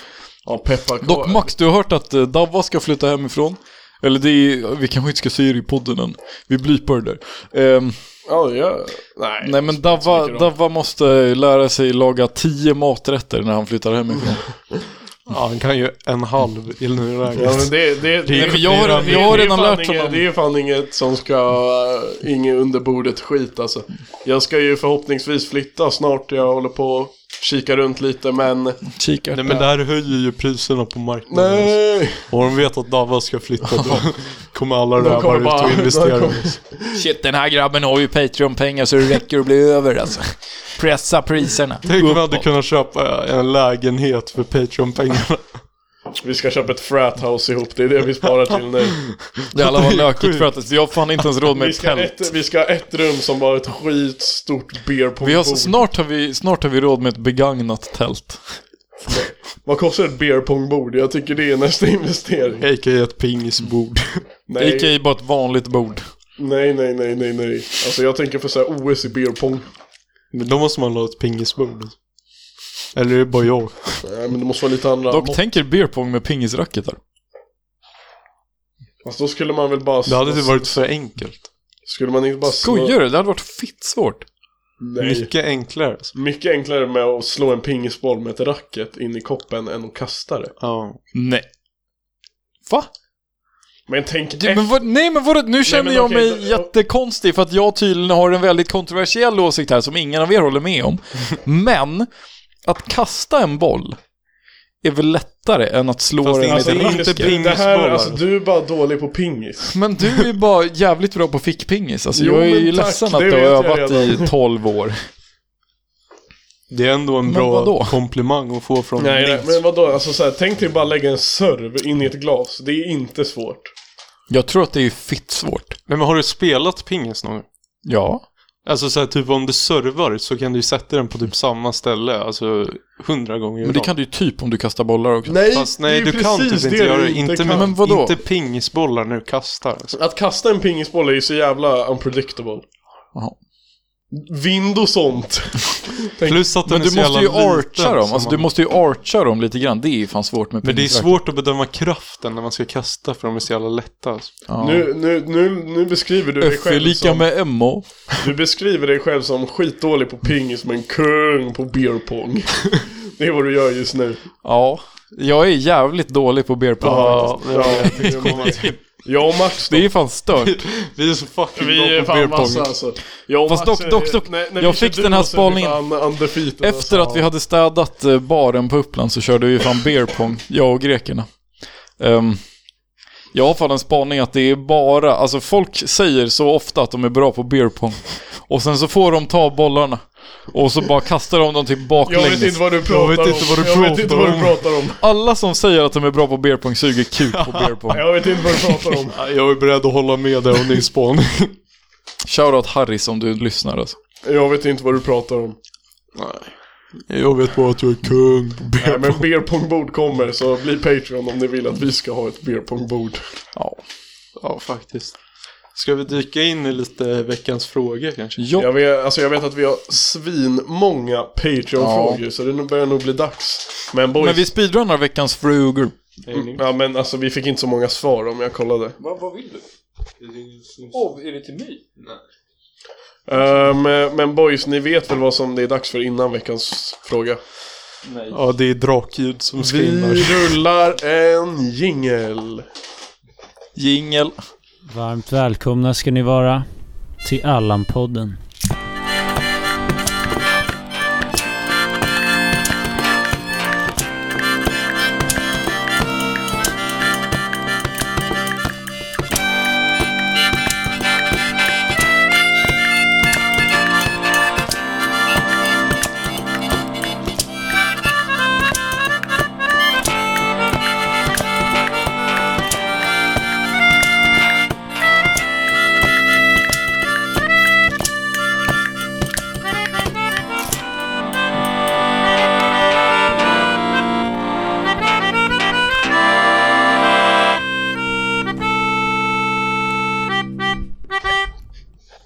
ja, pepparkakor.
Dock Max, du har hört att eh, Davva ska flytta hemifrån. Eller det är, vi kanske inte ska säga det i podden än. Vi blipar det där. Ehm,
Ja, det gör... Nej.
nej men Davva, Davva måste eh, lära sig laga tio maträtter när han flyttar hemifrån.
Mm.
Ja, han kan ju en halv i nuläget.
Ja, men det, det, det,
Nej, men jag har- jag har
det är
redan
fan
lärt
inget-
honom.
Det är fan inget som ska... Inget under bordet skit alltså. Jag ska ju förhoppningsvis flytta snart. Jag håller på och kika runt lite men...
Kikar.
Nej men det här höjer ju priserna på marknaden.
Nej!
Och de vet att Davva ska flytta då [LAUGHS] kommer alla
De kommer
rövare ut
bara-
och investera.
de kommer-
Shit, den här grabben har ju Patreon-pengar så det räcker att bli över alltså. Pressa priserna.
Tänk om vi hade kunnat köpa en lägenhet för [LAUGHS] Patreon-pengarna.
Vi ska köpa ett frat house ihop. Det är det vi sparar till nu.
Det alla var
Det är
lökigt
sjukt.
för att vi har fan inte ens råd med
Vi
ett
ska, ha
tält.
ett, vi ska ha ett rum som bara ett skitstort beer på
Vi har,
bord.
snart, har vi, snart har vi råd med ett begagnat tält.
Vad kostar ett beer pong-bord? Jag tycker det är nästa investering.
A.k.a. ett pingisbord.
Nej,
A.k.a. bara ett vanligt bord.
nej, nej, nej, nej, nej. Alltså jag tänker för så här OS i beer pong.
Men då måste man ha ett pingisbord. Eller är det bara jag?
Nej, men det måste vara lite andra.
Dock tänker beer pong med pingisracketar.
Alltså då skulle man väl bara...
Det hade ju varit för enkelt.
Skulle man inte bara... slå-
typ Skojar du? Det hade varit fitt svårt.
Nej.
Mycket enklare. Alltså.
Mycket enklare med att slå en pingisboll med ett racket in i koppen än att kasta det.
Ja.
Nej. Va?
Men tänk Äh,
Du, men
efter.
vad, nej men vadå, nu känner
men
jag
okej,
mig
då-
jättekonstig för att jag tydligen har en väldigt kontroversiell åsikt här som ingen av er håller med
[LAUGHS]
om. men, att kasta en boll är väl lättare än att slå
Fast
den
det är
med
Alltså,
ett racket.
inte
Mm,
inte det här,
pingisbollar.
alltså, du är bara dålig
[LAUGHS]
på pingis.
Men du är ju bara jävligt bra på fickpingis. Alltså,
Jo,
jag är
men
ju
tack,
ledsen
det
att du har
vet jag
övat
[LAUGHS]
i 12 år.
Det är ändå en
Men vadå?
bra komplimang att få från
Nej, nej,
Nils.
men vadå? Alltså, så här, tänk dig bara lägga en serv in i ett glas. Det är inte svårt.
Jag tror att det är fitt svårt.
Nej, men har du spelat pingis någon gång?
Ja.
Alltså så här, typ om du servar så kan du ju sätta den på typ samma ställe, alltså hundra gånger i
Men det
rad.
kan du ju typ om du kastar bollar också.
Nej,
Fast nej, du kan typ inte göra det. Inte, med,
Men vadå?
inte pingisbollar när du kastar. Alltså.
Att kasta en pingisboll är ju så jävla unpredictable.
Jaha.
Vind och sånt.
Plus att den
Men
är
du måste
så jävla
ju
liten
archa dem,
som
alltså du
man-
måste ju archa dem lite grann, det är ju fan svårt med
Men det är
pingisracket.
svårt att bedöma kraften när man ska kasta för de är så jävla lätta. Alltså.
Ja.
Nu, nu, nu, nu beskriver du dig
F är
själv liksom.
lika
som,
med MO.
Du beskriver dig själv som skitdålig på pingis men kung på beer [LAUGHS] pong. Det är vad du gör just nu.
Ja, jag är jävligt dålig på beer pong faktiskt.
Ja, det är
[LAUGHS]
många- jag och Max då.
Det är fan
[LAUGHS]
stört.
Vi är så fucking bra
Vi är
på
fan
beer pong.
massa alltså. Jag och
Fast
Max
dock-
är-
dock- dock,
när- när
jag
vi
fick
kör
den här
duo så är vi
spaningen
fan undefeated,
Efter
alltså.
att vi hade städat eh, baren på Uppland så körde vi fan beer pong, jag och grekerna. Ehm, jag har fan en spaning att det är bara, alltså folk säger så ofta att de är bra på beer pong. Och sen så får de ta bollarna. Och så bara kastar de dem till
Jag
baklänges.
vet inte vad du pratar
vet inte
om.
vad du
jag vet
pratar
inte vad du
om.
pratar om.
Alla som säger att de är bra på beer pong suger kuk
[LAUGHS]
på beer pong.
Jag vet inte vad du pratar om.
Ja, Jag är beredd att hålla med dig om din spaning.
Shoutout Harris om du lyssnar alltså.
[LAUGHS] Jag vet inte vad du pratar [LAUGHS] om.
jag vet bara att du är kung på beer
Nej, men beer pong bord kommer så bli Patreon om ni vill att vi ska ha ett beer pong bord.
Ja.
Ja, faktiskt. Ska vi dyka in i lite veckans frågor kanske?
Ja,
Jag vet, alltså jag vet att vi har svinmånga Patreon-frågor, så det nu börjar nog bli dags. Men boys,
men vi speedrunnar veckans frågor.
Mm, ja, men alltså, vi fick inte så många svar om jag kollade.
Vad, vad vill du? Åh, är det till mig? Nej.
Ehm, men boys, ni vet väl vad som det är dags för innan veckans fråga?
Nej.
Ja, det är drakljud som
Vi
screamar.
rullar en jingel.
Jingel.
Varmt välkomna ska ni vara till Allan-podden.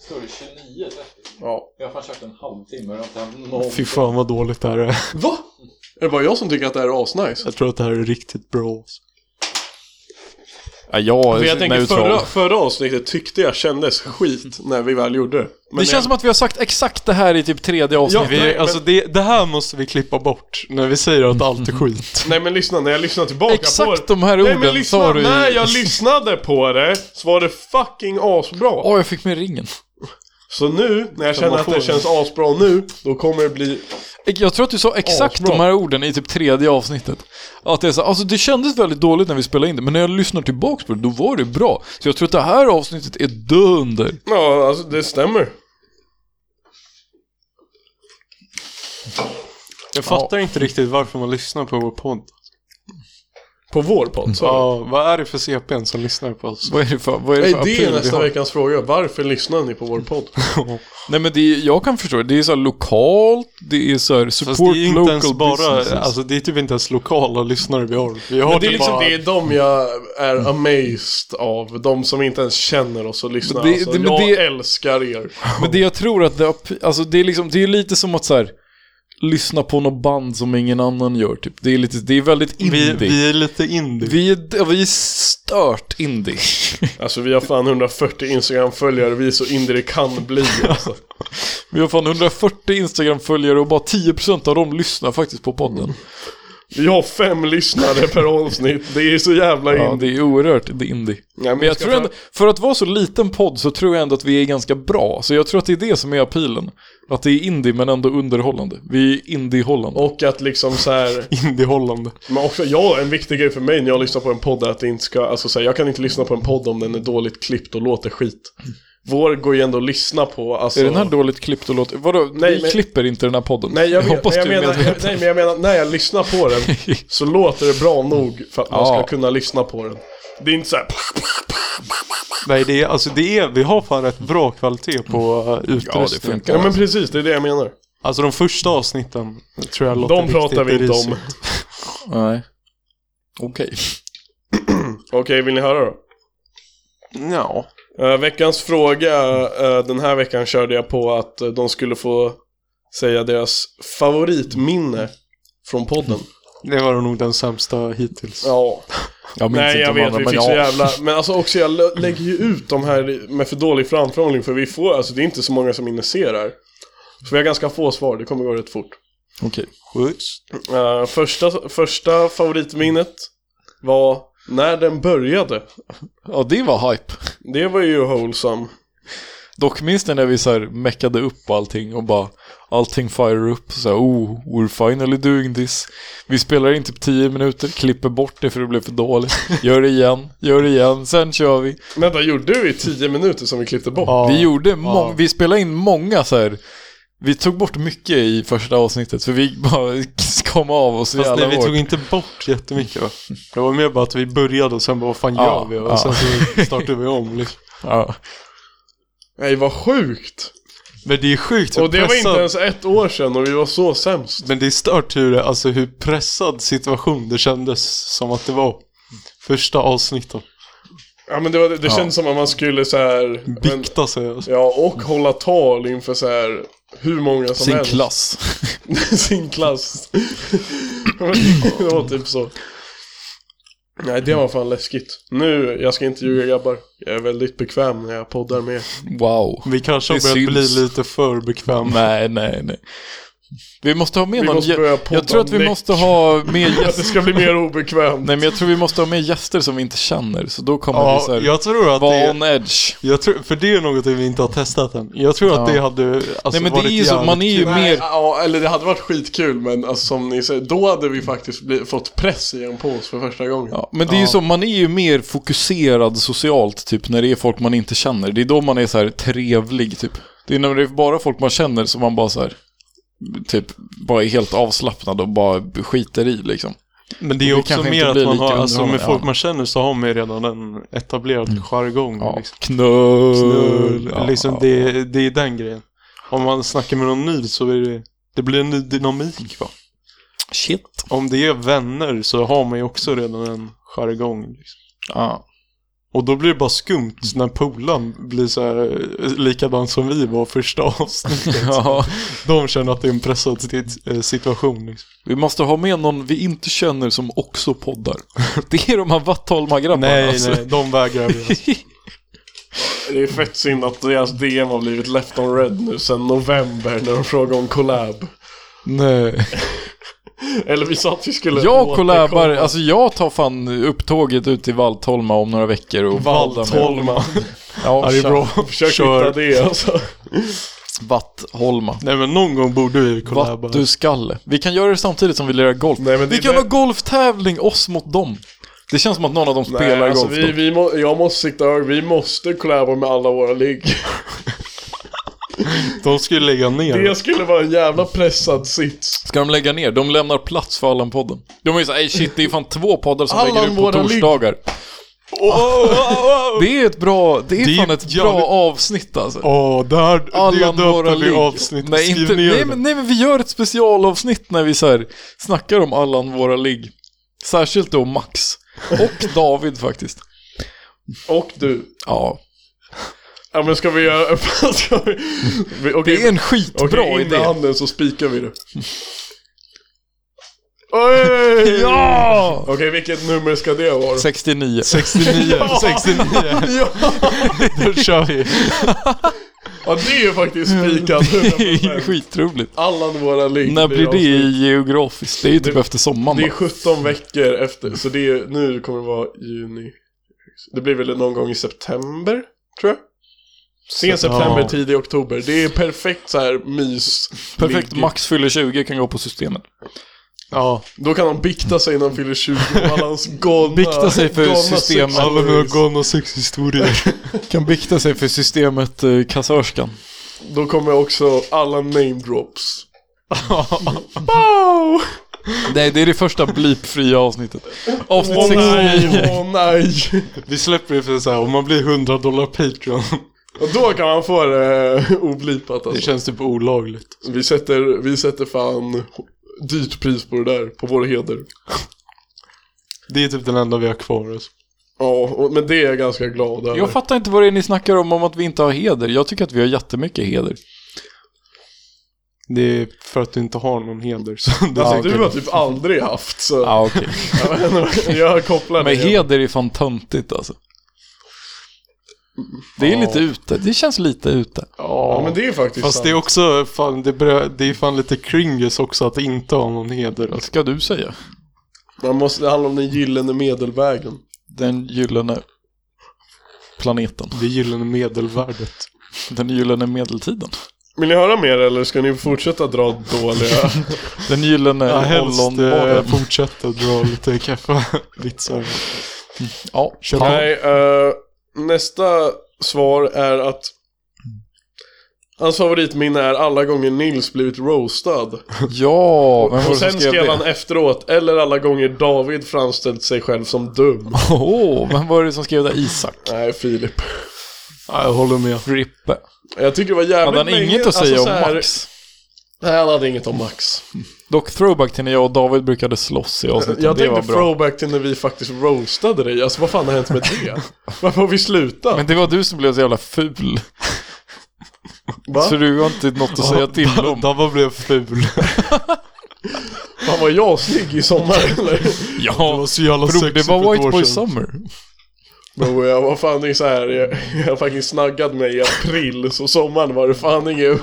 Står det 29
Ja.
Jag har fan kört en halvtimme och jag har inte haft någon...
Fy fan vad dåligt det här är.
Va? Är det bara jag som tycker att det här är asnice?
Jag tror att det här är riktigt bra.
Ja, jag
För jag
är
tänker
neutral.
förra, förra avsnittet tyckte jag kändes skit när vi väl gjorde det. Men
Det känns
jag-
som att vi har sagt exakt det här i typ tredje avsnittet.
Vi, alltså det, det här måste vi klippa bort när vi säger att allt är skit.
Nej men lyssna, när jag lyssnade tillbaka på
Exakt
det.
de här
Nej men
orden
lyssna,
sa du i-
när jag lyssnade på det så var det fucking asbra.
Åh, jag fick med ringen.
Så nu, när jag
man
känner att
får
det
det.
känns asbra nu, då kommer det bli...
Jag tror att du sa exakt
Asbra.
de här orden i typ tredje avsnittet. Att det, är så, alltså det kändes väldigt dåligt när vi spelade in det, men när jag lyssnar tillbaks på det, då var det bra. Så jag tror att det här avsnittet är dunder.
Ja, alltså det stämmer.
[LAUGHS] Jag fattar inte riktigt varför man lyssnar på vår podd.
På vår
Mm.
podd, så.
Ja, vad är det för CPN som lyssnar på oss?
Vad är det för, vad är det
Nej,
för
det
appeal
är
vi
nästa
har?
veckans fråga. Varför lyssnar ni på vår
[LAUGHS]
podd?
Nej men det är, jag kan förstå det. Det är så här lokalt, det är så här
Fast det
support
är ju inte ens
local
bara,
businesses.
alltså det är typ inte ens lokala lyssnare vi har. Vi har
Men det är
typ
liksom
bara...
det är de jag är
Mm.
amazed av. De som inte ens känner oss och lyssnar.
Det-
alltså,
det- men
jag
det-
älskar er.
Men det jag tror att det, app- alltså det är liksom, det är lite som att så här lyssna på något band som ingen annan gör typ. Det är lite, det är väldigt
Vi,
indie. Vi,
vi är lite indie.
är, vi är stört
[LAUGHS]
indie.
Alltså vi har fan 140 Instagram-följare. Vi är så indie det kan bli. Alltså.
vi har fan 140 Instagram-följare och bara 10% av dem lyssnar faktiskt på
Mm.
podden.
Vi har fem lyssnare per avsnitt. Det är så jävla
Ja,
indie.
det är oerhört det är indie.
Nej,
Men jag tror ändå, för att vara så liten podd så tror jag ändå att vi är ganska bra. Så jag tror att det är det som är appealen. Att det är indie men ändå underhållande. Vi är indie-hållande.
Och att liksom så här...
Indiehållande.
Men också, ja, en viktig grej för mig när jag lyssnar på en podd är att det inte ska, alltså så här, jag kan inte lyssna på en podd om den är dåligt klippt och låter skit. Vår går ju ändå att lyssna på, alltså...
Är den här dåligt klippt och låter... Vadå,
Nej,
vi
men-
klipper inte den här podden.
Nej, jag, vet-
hoppas
nej,
du
jag
är
menar,
medveten.
jag, nej, men jag menar, när jag lyssnar på den
[LAUGHS]
så låter det bra nog för att man
Ja.
ska kunna lyssna på den. Det är inte så här,
Nej, det är, alltså det är, vi har fan rätt bra kvalitet på eh, utrustning.
funkar.
ja men precis, det är det jag menar.
Alltså de första avsnitten tror jag låter
De
riktigt
pratar vi inte om.
risigt.
Nej. Okej.
Okej, vill ni höra då?
Ja.
Eh, veckans fråga, eh, den här veckan körde jag på att eh, de skulle få säga deras favoritminne från podden.
Det var nog den sämsta hittills.
Ja.
Jag minns
Nej
inte
jag
de
vet,
andra,
vi
men
fick
ja.
så jävla... Men alltså också jag lä- lägger ju ut de här med för dålig framförhållning för vi får, alltså det är inte så många som inne ser här. Så vi har ganska få svar, det kommer gå rätt fort.
Okej.
Skjuts.
Eh, första, första favoritminnet var när den började.
Ja, det var hype.
Det var ju wholesome.
Dock minns ni när vi så här meckade upp allting och bara allting fire upp så här, oh, we're finally doing this. Vi spelar in typ 10 minuter, klipper bort det för det blev för
[LAUGHS]
dåligt. Gör det igen, gör det igen, sen kör vi.
Vänta, gjorde vi 10 minuter som vi klippte bort?
Ja.
Vi gjorde mång- vi spelade in många så här vi tog bort mycket i första avsnittet för vi bara [LAUGHS] kom av oss
Fast
jävla
nej, vi
hårt.
tog inte bort jättemycket va? Det var mer bara att vi började och sen bara vad fan
Ja,
gör vi? Och
ja.
sen så startade vi om liksom.
Ja.
Nej vad sjukt!
Men det är sjukt hur
Och det var inte
pressad-
ens ett år sedan och vi var så sämst.
Men det är stört hur, det- alltså, hur pressad situation det kändes som att det var. Första avsnitten.
Ja men det, var, det kändes som att man skulle så här, men,
Bikta sig alltså.
Ja, och hålla tal inför så här hur många som
Sin
helst.
klass.
[LAUGHS] Sin klass. det var typ så. Nej, det var fan läskigt. Nu, jag ska inte ljuga grabbar. Jag är väldigt bekväm när jag poddar med er.
[LAUGHS] Wow.
Vi kanske har
Det
börjat
syns.
bli lite för bekväma.
Nej, nej, nej. Vi måste ha med
Vi
någon...
måste börja podda
jag tror att vi
näck.
måste ha med
Att det
gäster.
ska bli mer obekvämt.
Nej, men jag tror vi måste ha med gäster som vi inte känner. Så då kommer vi så
Ja,
här,
jag tror att
vara
det...
on edge.
Jag tror, för det är något vi inte har testat än. Jag tror att
Ja.
det hade alltså,
Nej, men det
varit
är ju så,
jävligt
man är ju
kul.
Nej,
mer...
ja, eller det hade varit skitkul men alltså, som ni säger, då hade vi faktiskt bli, fått press igen på oss för första gången.
Ja, men det är ju så, man är ju mer fokuserad socialt typ när det är folk man inte känner. Det är då man är så här trevlig typ. Det är när det är bara folk man känner som man bara så här, typ bara är helt avslappnad och bara skiter i liksom.
Men det är
Och det
också
kanske
mer
inte
att
blir
man har,
lika
alltså med
underhållande,
folk
ja.
man känner så har man ju redan en etablerad jargong.
Mm. Ja,
Liksom.
knull.
Knull,
Ja,
liksom
ja.
Det, det är den grejen. Om man snackar med någon ny så är det, det blir en ny dynamik va.
Shit.
Om det är vänner så har man ju också redan en jargong. Liksom.
Ja.
Och då blir det bara skumt när polan blir så här eh, likadan som vi var första avsnittet.
[LAUGHS] ja.
De känner att det är en pressad sit- eh, situation. Liksom.
Vi måste ha med någon vi inte känner som också
[LAUGHS]
poddar. Det är de här Vattholma-grabbarna.
Nej,
alltså.
nej, de vägrar vi. Alltså.
Det är fett synd att deras DM har blivit left on red nu sen november när de frågade om collab.
[LAUGHS] nej.
Eller vi sa att vi skulle
Jag
återkomma.
kollabar, alltså jag tar fan upptåget ut till Valtholma om några veckor och poddar med- [LAUGHS]
Valtholma.
Ja,
det är bra.
Försök
Kör.
hitta det alltså.
Vattholma.
Nej men någon gång borde vi kollaba.
Vattuskalle. Vi kan göra det samtidigt som vi lirar golf.
Nej, men det
vi
är
kan
det-
ha golftävling oss mot dem. Det känns som att någon av dem spelar
Nej, alltså
golf.
vi,
då.
vi må, jag måste sikta över, vi måste collaba med alla
[LAUGHS]
våra ligg.
De skulle lägga ner.
Det skulle vara en jävla pressad sits.
Ska de lägga ner? De lämnar plats för Allan-podden. De är ju såhär, ey shit det är fan två poddar som
Allan,
lägger ut på
våra ligg."
torsdagar. Det är ett bra, det är
Det är
fan ett
ju-
bra
ja, det-
avsnitt alltså.
Åh, där,
Allan
det
våra
döper vi
ligg.
avsnittet.
Nej,
Skriv
inte,
ner
nej,
det. [LAUGHS]
men, nej men vi gör ett specialavsnitt när vi så här snackar om Allan våra ligg. Särskilt då Max. Och David faktiskt.
Och du.
Ja.
Ja men ska vi göra... [LAUGHS] ska vi... vi- Okej,
Det är en skitbra
Okej, in med
idé.
handen så
[LAUGHS]
spikar vi det. Oj!
Ja!
[LAUGHS] Okej, vilket nummer ska det vara?
69.
69, 69.
[LAUGHS]
Ja,
[LAUGHS] Då kör vi.
ja det är ju faktiskt
[LAUGHS]
spikat.
Det är ju skitroligt.
Allan våra ligg.
När blir det
avsnitt.
geografiskt? Det är ju typ
Det-
efter sommaren
Det är
va?
17 veckor efter, så det är, nu kommer det vara juni. Det blir väl någon gång i september, tror jag. Sen september,
ja.
tidig oktober. Det är perfekt så här mys.
Perfekt,
ligg.
Max fyller 20 kan gå på systemet.
Ja,
Då kan han bikta sig när han fyller 20 och alla
[LAUGHS]
hans galna...
Bikta sig för
galna
systemet.
sex-
alla mina galna sexhistorier. [LAUGHS]
Kan bikta sig för systemet eh, kassörskan.
Då kommer också alla
[LAUGHS]
name drops.
Nej, det är det första blipfria avsnittet. Avsnitt
Åh
69.
nej, åh nej.
Vi släpper det för så här, om man blir 100 dollar Patreon.
Och då kan man få det eh, oblipat
Det
alltså.
känns typ olagligt.
Vi sätter, vi sätter fan dyrt pris på det där, på vår heder.
Det är typ den enda vi har kvar alltså.
Ja, och- men det är jag ganska glad över.
Jag fattar inte vad det är ni snackar om, om att vi inte har heder. Jag tycker att vi har jättemycket heder.
Det är för att du inte har någon heder. Så det
Alltså
Ja,
du
okej.
har typ aldrig haft så
Ja, okej.
[LAUGHS] jag kopplar
Men
det.
heder är fan töntigt alltså. Det är lite ute, det känns lite ute.
Ja men det är faktiskt
Fast det är också fan, det, börjar, det är fan lite cringes också att inte ha någon heder.
Vad
Alltså.
ska du säga?
Man måste, det handlar om den gyllene medelvägen.
Den gyllene planeten.
Det gillar medelvärdet.
Den gyllene medeltiden.
Vill ni höra mer eller ska ni fortsätta dra dåliga?
Den gyllene
Ja, helst eh,
ollonbaren.
fortsätta dra lite kaffevitsar.
Ja,
Kör
ja.
Nej, eh, nästa svar är att Hans favoritminne är alla gånger Nils blivit roastad.
ja, vem var
Och
det som
sen
skrev
skrev han
det?
efteråt, eller alla gånger David framställt sig själv som dum.
Åh, vem var det som skrev det? Isak?
Nej, Filip.
Ja, jag håller med.
Frippe.
Jag tycker det var jävligt
Hade han
länge-
inget att säga
alltså,
om
så här-
Max?
Nej, han hade inget om Max.
Dock throwback till när jag och David brukade slåss i avsnitten.
Jag
det var
tänkte
bra.
throwback till när vi faktiskt roastade dig. Alltså vad fan har hänt med
[LAUGHS]
det? Varför har vi slutat?
Men det var du som blev så jävla ful.
Va?
Så du har inte något att säga till om.
Dabba blev ful.
Fan var jag snygg i sommar [LAUGHS] eller?
Det
Ja,
var så jävla
bro, det
sexigt för
var
ett
White
år
Boy
sedan.
Summer.
Bro, jag var oh, fan inte så här. Jag, jag fucking snaggade mig i april, så sommaren var det fan inget,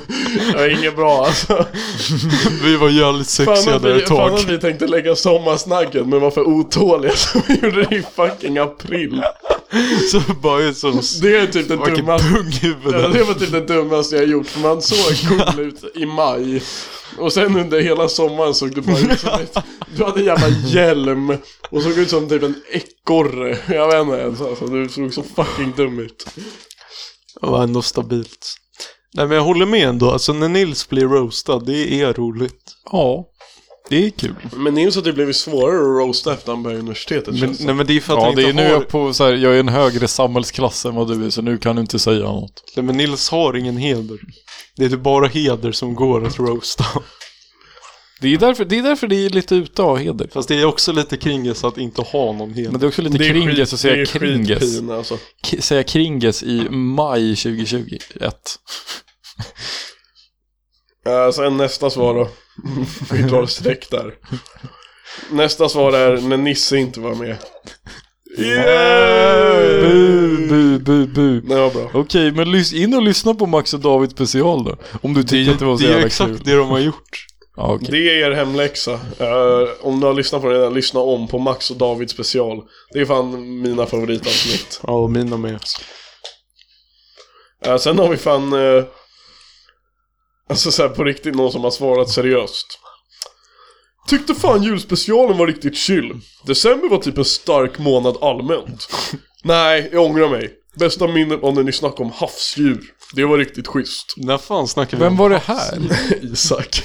det var inget bra alltså.
[LAUGHS] Vi var jävligt
Fan
sexiga
att,
där
vi,
ett
fan
tag.
att vi tänkte lägga sommarsnacket, men var för otåliga så vi gjorde det i fucking april.
[LAUGHS] Så bara en sån...
Det är typ den
Vilket
dummaste
punghuvud.
Ja, det var typ det dummaste jag gjort, för man såg cool ut i maj Och sen under hela sommaren såg du bara ut som ett, Du hade en jävla hjälm och såg ut som typ en ekorre Jag vet inte ens alltså, du såg så fucking dum ut
Det var ändå stabilt. Nej men jag håller med ändå, alltså när Nils blir roastad, det är roligt.
Ja, det är kul.
Men Nils har typ blivit svårare att roasta efter han började universitetet
Men,
känns det.
nej men det är för att
Ja,
han
det är
inte
nu
har...
jag på så här, jag är en högre samhällsklass än vad du är, så nu kan du inte säga något.
Nej men Nils har ingen heder. Det är typ bara heder som går
[LAUGHS]
att roasta.
Det är därför det är, därför det är lite ute av heder.
Fast det är också lite kringis att inte ha någon heder.
Men det är också lite kringes att säga kringes.
skitpin, alltså.
K- säga kringes i maj 2021.
Eh, sen nästa svar då. [LAUGHS] Vi drar streck där. Nästa svar är när Nisse inte var med.
Bu, bu, bu, bu.
Det var bra.
Okej, men lys- in och lyssna på Max och David special då. Om du tyckte att det var så
det är
jävla
exakt
kul.
det de har gjort.
Ja, okej.
Det är er hemläxa. Eh, om du har lyssnat på den redan, lyssna om på Max och David special. Det är fan mina favoritavsnitt.
Ja, och mina med.
Eh, sen har vi fan... eh, alltså så här på riktigt någon som har svarat seriöst. Tyckte fan julspecialen var riktigt chill. December var typ en stark månad [LAUGHS] allmänt. Nej, jag ångrar mig. Bästa minnet var när ni snackade om havsdjur. Det var riktigt schysst.
När fan snackar vi
Vem
om
var det här?
[LAUGHS] Isak.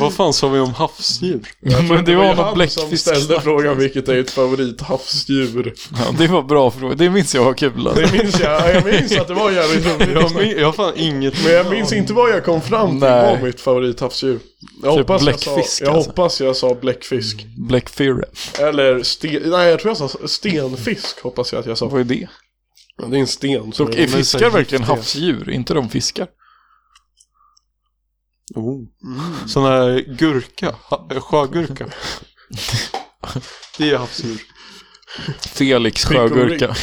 Vad fan sa vi
[LAUGHS]
om havsdjur?
Men det
ju
var någon
han som
bläckfisk.
ställde frågan vilket är ett [LAUGHS] favorithavsdjur.
Ja, det var bra fråga. Det minns jag var kul. Alltså.
Det minns jag, jag minns att det var jävligt
Jag,
roligt
min- jag har fan inget
Men jag minns inte vad jag kom fram till
Nej.
var mitt favorithavsdjur jag,
Typ
hoppas jag, sa,
bläckfisk,
jag
alltså.
hoppas jag sa bläckfisk
Black Fear.
Eller sten, nej jag tror jag sa stenfisk hoppas jag att jag sa
Vad är det?
Det är en sten som
Är
är,
fiskar verkligen havsdjur? Inte de fiskar?
Oh. Sån här gurka,
[LAUGHS]
ha- sjögurka. Det är havsdjur.
Felix
Prick och
sjögurka.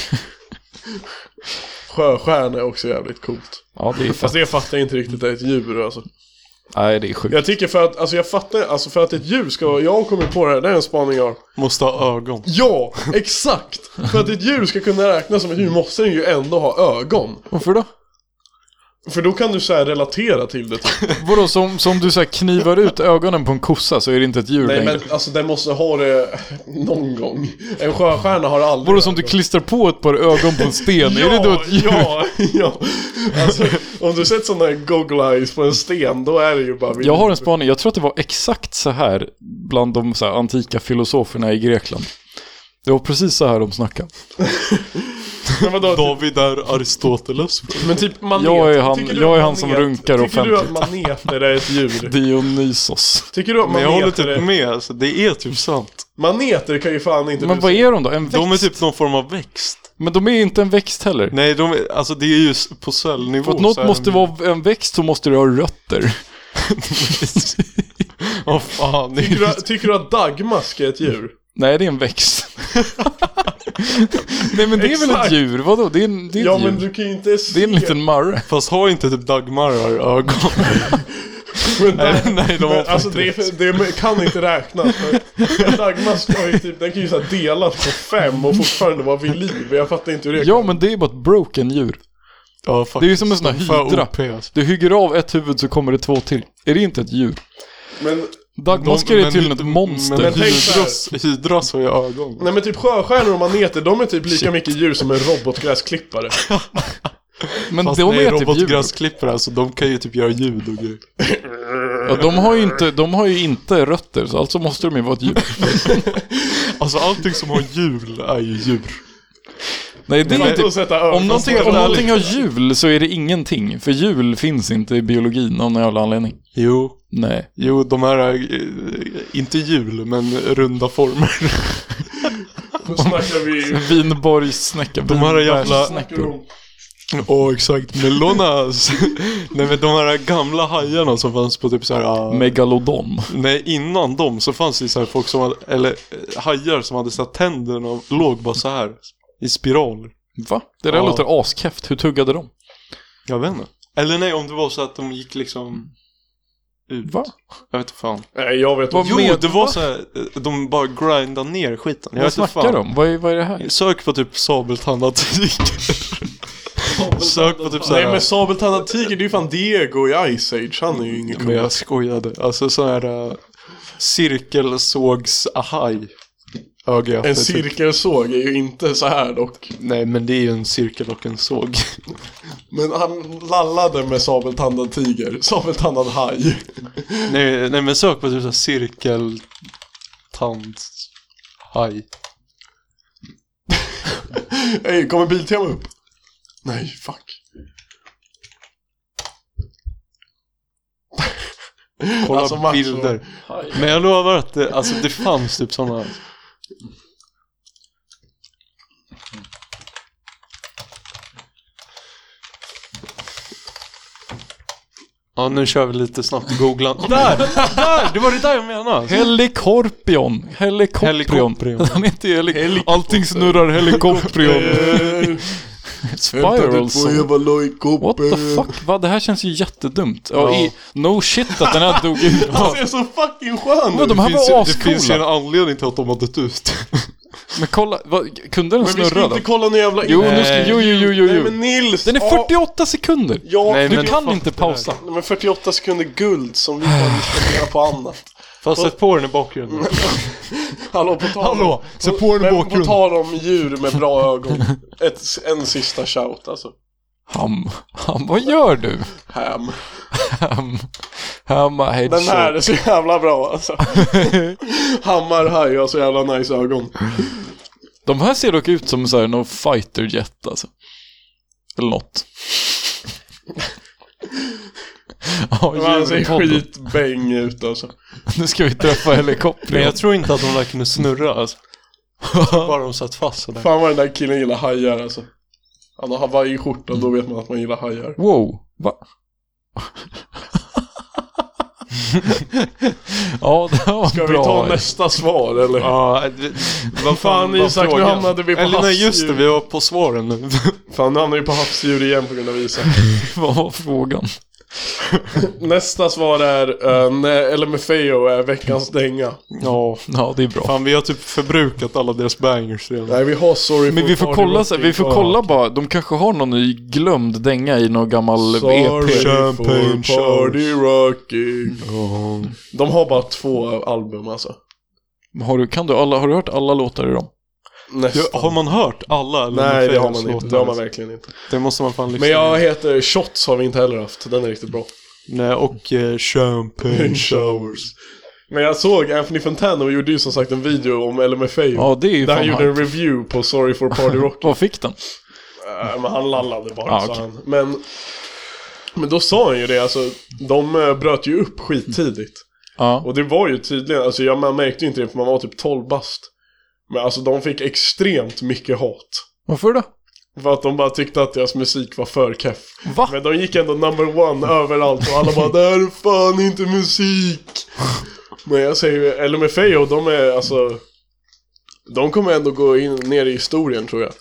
sjöstjärna är också jävligt coolt
Ja, det är
Fast
fett.
det fattar jag inte riktigt är ett djur alltså
Nej, det är sjukt.
Jag tycker för att, alltså jag fattar, alltså för att ett djur ska, jag har kommit på det här, det är en spaning jag har
Måste ha ögon.
Ja, exakt! För att ett djur ska kunna räknas som ett djur måste den ju ändå ha ögon
Varför då?
För då kan du så här relatera till det typ.
Vadå, som, som du så här knivar ut ögonen på en kossa så är det inte ett djur
Nej
längre?
men alltså den måste ha det någon gång. En sjöstjärna har aldrig...
Vadå, som du klistrar på ett par ögon på en sten?
[LAUGHS] ja,
Är det då ett djur?
Ja, ja. Alltså om du sett sådana här goggle eyes på en sten då är det ju bara...
Jag har en spaning, jag tror att det var exakt så här bland de så här, antika filosoferna i Grekland. Det var precis så här de snackade.
Men vadå?
David är Aristoteles.
Men typ manet.
Jag är han-
Tycker du
jag
att
är han som
manet-
runkar
Tycker du att
offentligt?
maneter är
[LAUGHS]
ett djur?
Dionysos.
Tycker du att
Men jag håller
maneter
typ
är...
med, alltså, det är typ sant.
Maneter kan ju fan inte...
Men vad är de då? En växt?
De är typ någon form av växt.
Men de är inte en växt heller.
Nej, de är, alltså det är ju s- på cellnivå.
För att
så
något
är
måste
de- [LAUGHS]
vara en växt så måste det ha rötter.
Åh fan, det
Tycker du,
är...
att- tycker du att dagmask är ett djur?
Nej, det är en
[LAUGHS]
växt. Nej, men det är väl ett
Exakt.
djur? Vadå? Det är, en- det är ett
Ja
djur.
men du kan ju inte se...
Det är en liten marre.
Fast har inte typ dagmarar
[LAUGHS]
ögon?
Men där-
Nej, de har
Men, alltså
alltså,
det, det kan inte räknas. för en Dagmask har ju typ, den kan ju så här delas på fem och fortfarande vara vid liv. Jag fattar inte hur det
Ja, men det är bara ett broken djur.
ja,
Det är ju som en sån här hydra.
Alltså.
Du hygger av ett huvud så kommer det två till. Är det inte ett djur?
Men,
Dagmaskar
De-
är
men
tydligen
hyd-
ett monster.
Men
Men tänk så här.
hydras, hydras har ju ögon.
nej men typ sjöstjärnor och maneter, de är typ lika mycket djur som en robotgräsklippare.
Men
Fast
de
nej,
är typ djur.
robotgräsklippare alltså, de kan ju typ göra ljud och grejer.
Ja, de, har ju inte, de har ju inte rötter, så alltså måste de ju vara ett djur.
Alltså allting som har hjul är ju djur.
Nej, det är
Inte
typ,
att sätta över.
om någonting, om
Helt ärligt.
någonting har hjul så är det ingenting. För hjul finns inte i biologin av någon jävla anledning.
Jo,
Nej.
jo, de här, eh, inte hjul, men
[LAUGHS]
runda former.
Då snackar vi...
Vinborgssnäcka.
De här jävla-
vinbärsnäckor.
Åh, exakt.
[LAUGHS]
Melonas. Nej, men de här gamla hajarna som fanns på typ så här... ah,
Megalodon.
Nej, innan dem så fanns det så här folk som hade, eller eh, hajar som hade så här tänderna och låg bara så här i spiraler.
Va? Det där
Ja.
låter askeft. Hur tuggade de?
Jag vet inte. Eller nej, om det var så att de gick liksom ut.
Va?
Jag vet inte fan.
Nej, jag vet
Vad
inte.
Jo,
med-
det var så här, eh, de bara grindade ner skiten. Jag
Vad
vet inte
snackar
fan.
de? Vad är, vad är det här?
Sök på typ sabeltandad tiger. Sök på typ så
Nej
här.
men sabeltandad tiger, det är ju fan Diego i Ice Age. Han är ju ingen
Men
kung.
jag skojade. Alltså så här uh, cirkelsågs-ahaj. Öga i
En
öppet, typ.
cirkelsåg är ju inte så här dock.
Nej, men det är ju en cirkel och en såg.
Men han lallade med sabeltandad tiger. Sabeltandad haj.
Nej, nej men sök på typ såhär cirkel... Tand... Haj.
Ey, kommer Biltema upp? Nej, fuck.
Kolla
Alltså, Max och-
bilder. Men jag lovar att det, alltså, det fanns typ sådana. Ja, nu kör vi lite snabbt googla. [LAUGHS] Där! Där! Det var det där jag menade!
Helikorpion. Helikorpion.
Helikopter.
Han heter helik... Allting snurrar helikoprion.
Eh,
Spiral Song. What the fuck? Va? Det här känns ju jättedumt. Ja,
Ja.
I, no shit att den här dog
[LAUGHS]
ut.
Han ser så fucking skön
Vad
ut!
de här
Finns,
var
det finns ju en
ascoola.
anledning till att de har dött ut.
Men kolla, vad, kunde den
Men vi ska
snurra då?
inte kolla någon jävla...
Jo, nu ska, jo, jo, jo, jo,
Nej
jo.
men Nils!
Den är
ja,
48 sekunder.
Ja,
Nej,
Du
men-
kan
jag
inte
fattar
pausa.
Nej, men 48 sekunder guld som vi bara disponerar på annat.
Fast sätt på den i bakgrunden. [LAUGHS]
Hallå, på tal om...
Hallå, se på den i
Men
bakgrunden.
på tal om djur med bra ögon. Ett, en sista shout alltså.
Ham, ham, vad gör du?
Ham.
Ham, ham,
Den här
headshot.
är så jävla bra
[LAUGHS]
alltså. Hammarhaj har så jävla nice ögon.
De här ser dock ut som så här, någon fighterjet alltså. Eller
[LAUGHS]
något. Ja,
Men Han ser
djurpodden.
skitbäng ut alltså.
Nu ska vi träffa
Men
helikoptern.
jag tror inte att de där kunde snurra [LAUGHS] alltså. Bara de satt fast sådär.
Fan vad den där killen gillar hajar alltså. Han har hawaiiskjorta, då vet man att man gillar hajar.
Wow, va? ja, det här var
Ska vi
bra.
ta nästa svar eller?
Ja, det- vad
Fan,
vad
Isak, nu
frågan?
hamnade vi på
Eller nej,
havsdjur.
just det, vi var på svaren nu.
Fan nu hamnar vi på havsdjur igen på grund av Isak.
Vad var frågan?
[LAUGHS] Nästa svar är, eh, nej, eller med Feo är veckans dänga.
ja.
Ja, det är bra.
[LAUGHS] Fan, vi har typ förbrukat alla deras bangers redan.
Nej vi har sorry
Men
for
vi får
party
kolla, så,
rocking.
vi får kolla bara, de kanske har någon ny glömd dänga i någon gammal
Sorry
EP.
E Champagne
for party rocking. De har bara två album alltså.
Har du, kan du alla, har du hört alla låtar i dem?
Nästan.
Ja, har man hört alla? eller
Nej det har
Fails
man inte,
låtar? alltså.
det har man verkligen inte.
Det måste man fan lyssna
Men jag heter Shots har vi inte heller haft, den är riktigt bra.
Nej, och eh,
[LAUGHS]
champagne.
showers. Men jag såg Anthony Fantano gjorde ju som sagt en video om LMFAO.
Ja, det är ju
där han
fan
gjorde
gjorde...
en review på
[LAUGHS]
Sorry for Party Rock.
Vad fick den?
Äh, men han lallade bara
Ja,
sa
okej.
han. Men, men då sa han ju det, alltså de eh, bröt ju upp skittidigt.
Ja.
Och det var ju tydligen, alltså jag, man märkte ju inte det för man var typ 12 bast. Men alltså de fick extremt mycket hat.
Varför då?
För att de bara tyckte att deras musik var för keff.
Va?
Men de gick ändå number one överallt och alla bara Det här är fan inte musik! Men jag säger ju, LMFAO de är alltså De kommer ändå gå in, ner i historien tror jag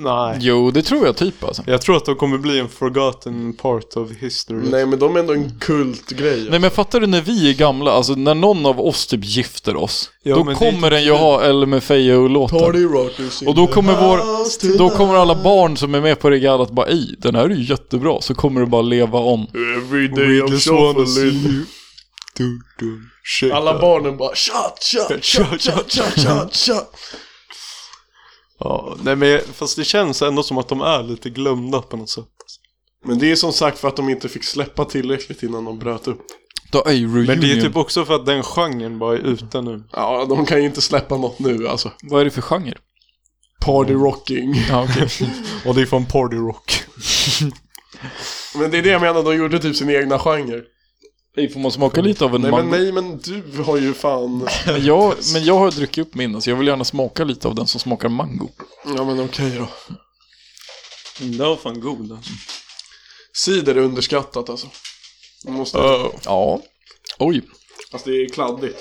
Nej.
Jo, det tror jag typ alltså.
Jag tror att de kommer bli en forgotten part of history.
Nej men de är ändå en kultgrej
Nej men fattar du när vi är gamla, alltså när någon av oss typ gifter oss,
Ja,
då
men det är
kommer den ju ha LMFAO-låtar.
Party rockers in
Och då
the
kommer, vår,
house
då
tonight.
kommer alla barn som är med på regalat bara i, den här är ju jättebra, så kommer det bara leva om.
Every day
We
I'm
just wanna see
shuffling
you. Dun, dun. Shake
Alla
that.
barnen bara Shut, shut, shut, shut, shut, shut, shut
Ja, nej men fast det känns ändå som att de är lite glömda på något sätt.
Men det är som sagt för att de inte fick släppa tillräckligt innan de bröt upp
Då är ju reunion.
Men det är typ också för att den genren bara är ute nu.
Ja, de kan ju inte släppa något nu alltså
Vad är det för genre?
Party rocking.
Ja, [LAUGHS] okej.
Och det är från Party Rock.
Men det är det jag menar, de gjorde typ sin egna genre.
Vi får man smaka lite av en
Nej men,
mango.
nej men du har
[LAUGHS]
ju fan...
Men jag, men jag har druckit upp min, så jag vill gärna smaka lite av den som smakar mango.
Ja men okej då.
Den var fan god alltså.
Cider är underskattat alltså. Man måste...
Ja. Oj.
Alltså det är kladdigt.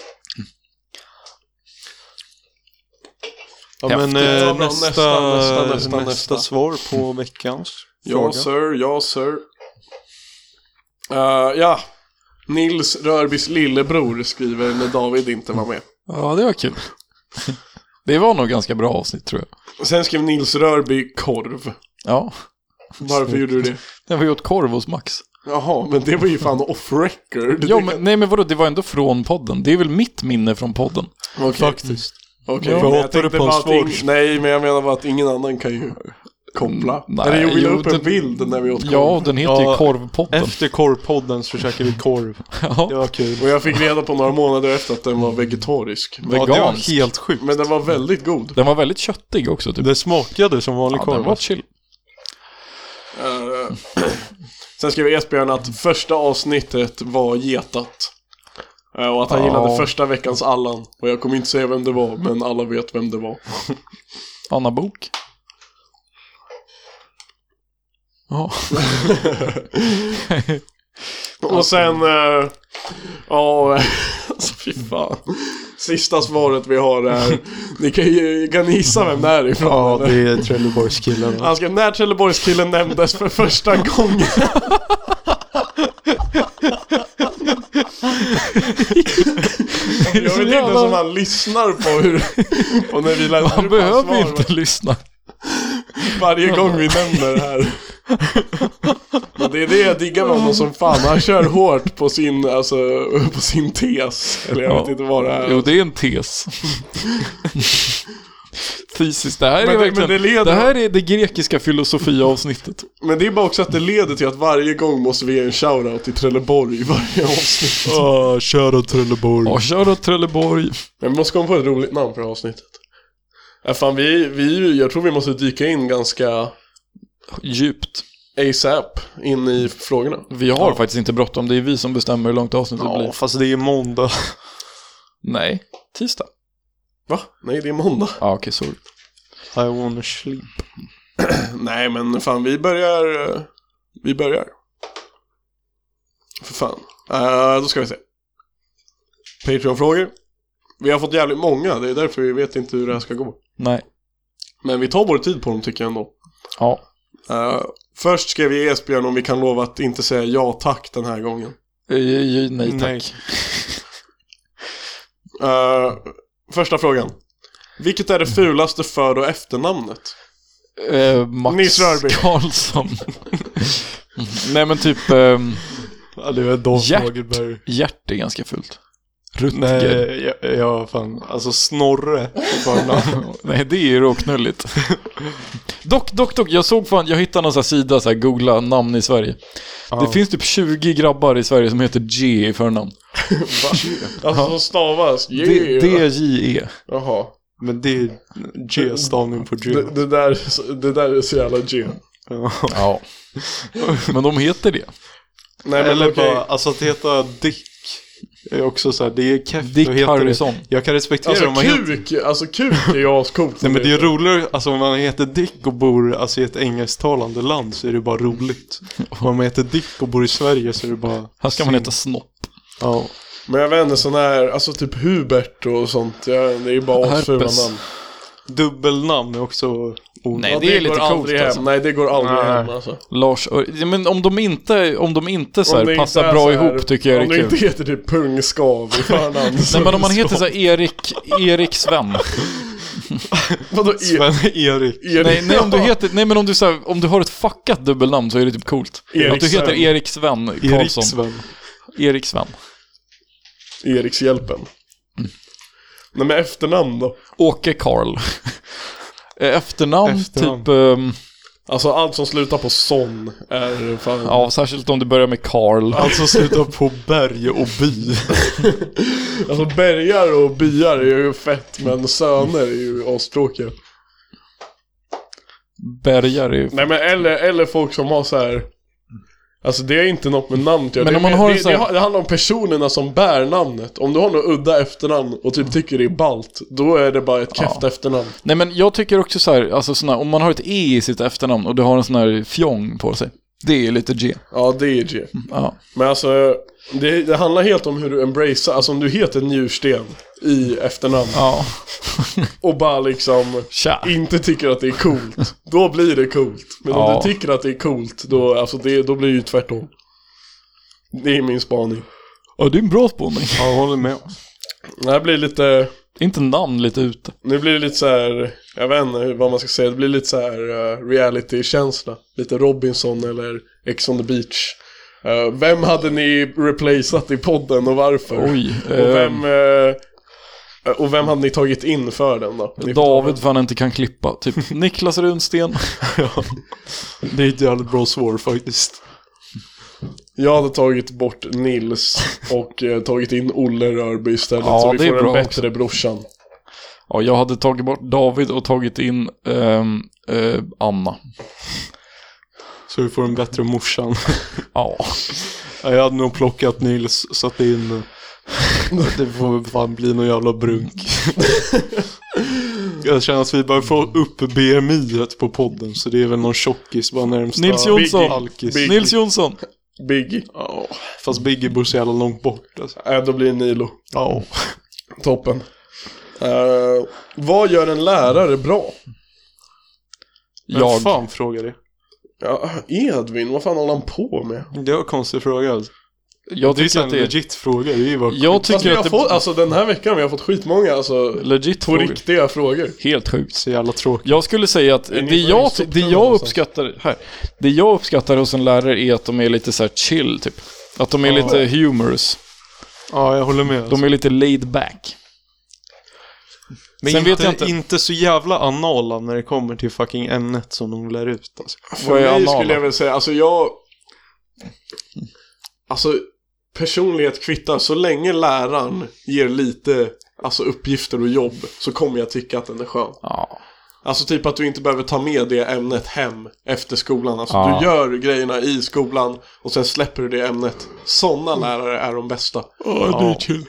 Ja,
Häftigt.
men eh,
Ja, bra.
nästa,
Nästa, nästa, nästa,
nästa,
nästa.
svar på veckans
Ja sir, ja sir. Eh, ja. Nils Rörbys lillebror skriver när David inte var med.
Ja, det var kul. [LAUGHS] Det var nog ganska bra avsnitt tror jag.
Sen skrev Nils Rörby korv.
Ja.
Varför gjorde du det?
Den var ju åt korv hos Max.
Jaha, men det var ju fan off record.
Ja, men, nej men vadå, det var ändå från podden. Det är väl mitt minne från podden.
Okej,
Faktiskt.
okej.
Varför
Men jag
hatar du
tänkte
på
bara
en
att ing-
svår?
Nej, men jag menar bara att ingen annan kan ju koppla.
Nej,
Eller jo, vi la
jo,
upp en
det-
bild när vi åt korv.
Ja, den heter ju
Ja,
Korvpodden.
Efter korvpodden så käkade vi [LAUGHS] korv. Det
Ja.
var kul.
Och jag fick reda på några månader efter att den var vegetarisk.
Ja, det
Vegansk.
var helt sjukt.
Men den var väldigt god.
Den var väldigt köttig också typ.
Det smakade som vanlig
Ja,
korv.
den var chill.
Eh, Sen skrev Esbjörn att första avsnittet var getat. Eh, Och att han
Ja.
gillade första veckans Allan. Och jag kommer inte säga vem det var, men alla vet vem det var.
Anna Bok. Ja.
Och sen... eh, Ja, [LAUGHS] alltså fy fan. Sista svaret vi har är... Ni kan, ju, kan ni gissa vem det är ifrån?
Ja,
eller?
det är Trelleborgskillen.
Han skrev när Trelleborgskillen nämndes för första gången. Jag vet inte ens om han lyssnar på hur... På när vi läser
Man
upp hans
behöver
svar,
inte lyssna.
men Varje gång vi nämner det här. Men det är det jag diggar med honom som fan. Han kör hårt på sin, alltså, på sin tes. Eller jag vet inte vad det är.
Jo, det är en tes. Fysiskt, det här
Men
är
det-
verkligen...
men det leder-
det här är det grekiska filosofiavsnittet.
Men det är bara också att det leder till att varje gång måste vi ge en shoutout till Trelleborg i varje avsnitt.
Ah, Kära Trelleborg.
Ja, kör åt Trelleborg.
Men vi måste komma på ett roligt namn för det här avsnittet. Ja, fan, vi, vi, jag tror vi måste dyka in ganska
Djupt.
ASAP in i frågorna.
Vi har faktiskt inte bråttom, det är vi som bestämmer hur långt avsnittet
Ja,
blir.
fast det är måndag.
Nej, tisdag.
Va? Nej, det är måndag.
Ja, okej, sorry.
I wanna sleep.
[LAUGHS] Nej, men fan, vi börjar... eh, Vi börjar. För fan. Eh, då ska vi se. Patreon-frågor. Vi har fått jävligt många, det är därför vi vet inte hur det här ska gå.
Nej.
Men vi tar vår tid på dem tycker jag ändå.
Ja.
Eh, först skrev vi Esbjörn om vi kan lova att inte säga ja tack den här gången.
Eh, eh, Nej tack.
Nej.
Eh, första frågan. Vilket är det fulaste för och efternamnet?
Eh, Max
Nils Rörby.
Karlsson. [LAUGHS] Nej men typ, ehm,
Ja, det var Dan
Hjärt.
Lagerberg.
Hjärt är ganska fult. Rutger.
Nej, ja, ja, fan. Alltså Snorre. förnamn.
[LAUGHS] Nej, det är ju råknulligt. [LAUGHS] dock, dock, dock, jag såg fan, jag hittade någon sån här sida, så här, googla namn i Sverige. Det finns typ 20 grabbar i Sverige som heter G i förnamn.
Alltså som stavas?
D-
Yeah.
D-J-E.
Jaha.
Men det är G-stavning på G.
Det, det, där, det där är så jävla G.
Ja.
Ja. [LAUGHS] Men de heter det.
Nej men
Eller
okej.
bara, alltså att heta Dick. Är också så här, det är kefft
Dick
att heta
Harrison.
Det. Jag kan respektera
Alltså
om man heter...
kuk, alltså kuk är ju ascoolt.
Nej men det är roligare, alltså om man heter Dick och bor alltså, i ett engelsktalande land så är det bara roligt. Om man heter Dick och bor i Sverige så är det bara...
Här ska man heta Snopp.
Ja.
Men jag vet inte, sån här, alltså typ Hubert och sånt. Ja, det är ju bara asfula
Herpes.
namn.
Dubbelnamn är också onödigt.
Nej,
Ja,
det är lite
går
coolt,
aldrig hem.
alltså.
Nej det går aldrig
Nej.
hem alltså.
Lars Ö- Ja, Men om de inte, om de inte så
Om
här,
det inte
passar
är
bra
så här-
ihop tycker jag
Om
det
du
är kul.
inte heter typ pungskav i förnamn. så-
Nej men om man heter så här Erik, Erik Sven.
Vadå
[LAUGHS]
e-
Sven-Erik.
Erik?
Nej, nej, om du heter, nej men om du, så här, om du har ett fuckat dubbelnamn så är det typ coolt.
Erik
att du heter
Sven.
Erik Sven
Erik
Karlsson.
Sven.
Erik Sven.
Erikshjälpen. Nej men efternamn då?
Åke Karl. Eh, Efternamn,
Efternamn.
typ, ehm,
Alltså allt som slutar på son är fan...
ja särskilt om du börjar med Karl.
Alltså sluta på berg och by.
[LAUGHS] Alltså bergar och byar är ju fett men söner är ju astråkiga.
bergar i...
Nej men eller, eller folk som har så här. Alltså det är inte något med namnet
Men
det,
om man
det-
har
det,
så här-
det, det handlar om personerna som bär namnet Om du har något udda efternamn och typ tycker det är balt Då är det bara ett kefft efternamn
Nej men jag tycker också så här, alltså såna, om man har ett E i sitt efternamn och det har en sån här fjong på sig. Det är lite G.
Ja det är G
Ja.
Men alltså det, det handlar helt om hur du embracear Alltså om du heter njursten i efternamn
Ja.
Och bara liksom
[LAUGHS] Tja.
inte tycker att det är coolt Då blir det coolt Men
Ja.
om du tycker att det är coolt då, alltså det, då blir det ju tvärtom Det är min spaning
Ja, det är en bra spåning.
Jag håller med.
Det här blir lite
inte namn lite ute.
Nu blir det lite så här, jag vet inte hur- vad man ska säga, det blir lite så här eh, reality-känsla. Lite Robinson eller Ex on the beach. Eh, vem hade ni replaceat i podden och varför?
Oj.
och,
ehm,
vem, eh, och vem hade ni tagit in för den då? Ni får ta
David för han inte kan klippa.
[LAUGHS]
Typ Niklas Runsten.
Det är ett jävligt bra svar faktiskt.
den. Jag hade tagit bort Nils
[LAUGHS]
och eh, tagit in Olle Rörby istället
Ja,
så vi
det är
får en
bra
bättre brorsan.
Ja, jag hade tagit bort David och tagit in ehm, eh, Anna.
Så vi får en bättre morsan.
Ja.
Ja, Jag hade nog plockat Nils, satt in... [LAUGHS] Det får fan bli någon jävla brunk.
[LAUGHS]
Jag känner att vi börjar få upp BMI et på podden, så det är väl någon tjockis bara närmsta...
Nils Jonsson.
Alkis.
Big-
Nils Jonsson.
Big,
Ja, fast Biggie bor så jävla långt bort alltså.
äh, då blir det Nilo.
Ja.
Toppen. Eh, vad gör en lärare bra?
Vem
Jag.
fan frågar det?
Ja, Edvin, vad fan håller han på med?
Det var en konstig fråga alltså.
Jag
Det är
tycker
så
att
en
det är...
legit fråga, det är ju bara...
Jag
Fast vi
tycker
har
att det
fått, alltså den här veckan vi har fått skitmånga alltså
Legit
på
frågor.
riktiga frågor.
Helt sjukt.
Så jävla tråkigt.
Jag skulle säga att
ni
det
för
jag,
soptunna
det jag
någonstans?
uppskattar här, det jag uppskattar hos en lärare är att de är lite så här chill typ. Att de är lite humorous.
Ja, jag håller med. Alltså.
De är lite laid back.
Men
Sen
inte,
vet jag inte.
inte så jävla anala när det kommer till fucking ämnet som de lär ut alltså.
För
Vad är
mig
anala?
skulle jag väl säga, alltså jag... Alltså personlighet kvittar, så länge läraren ger lite alltså, uppgifter och jobb så kommer jag tycka att den är skön.
Ja.
Alltså typ att du inte behöver ta med det ämnet hem efter skolan. Alltså
Ja.
du gör grejerna i skolan och sen släpper du det ämnet. Sådana lärare är de bästa.
Ja,
Mm. det är
kul.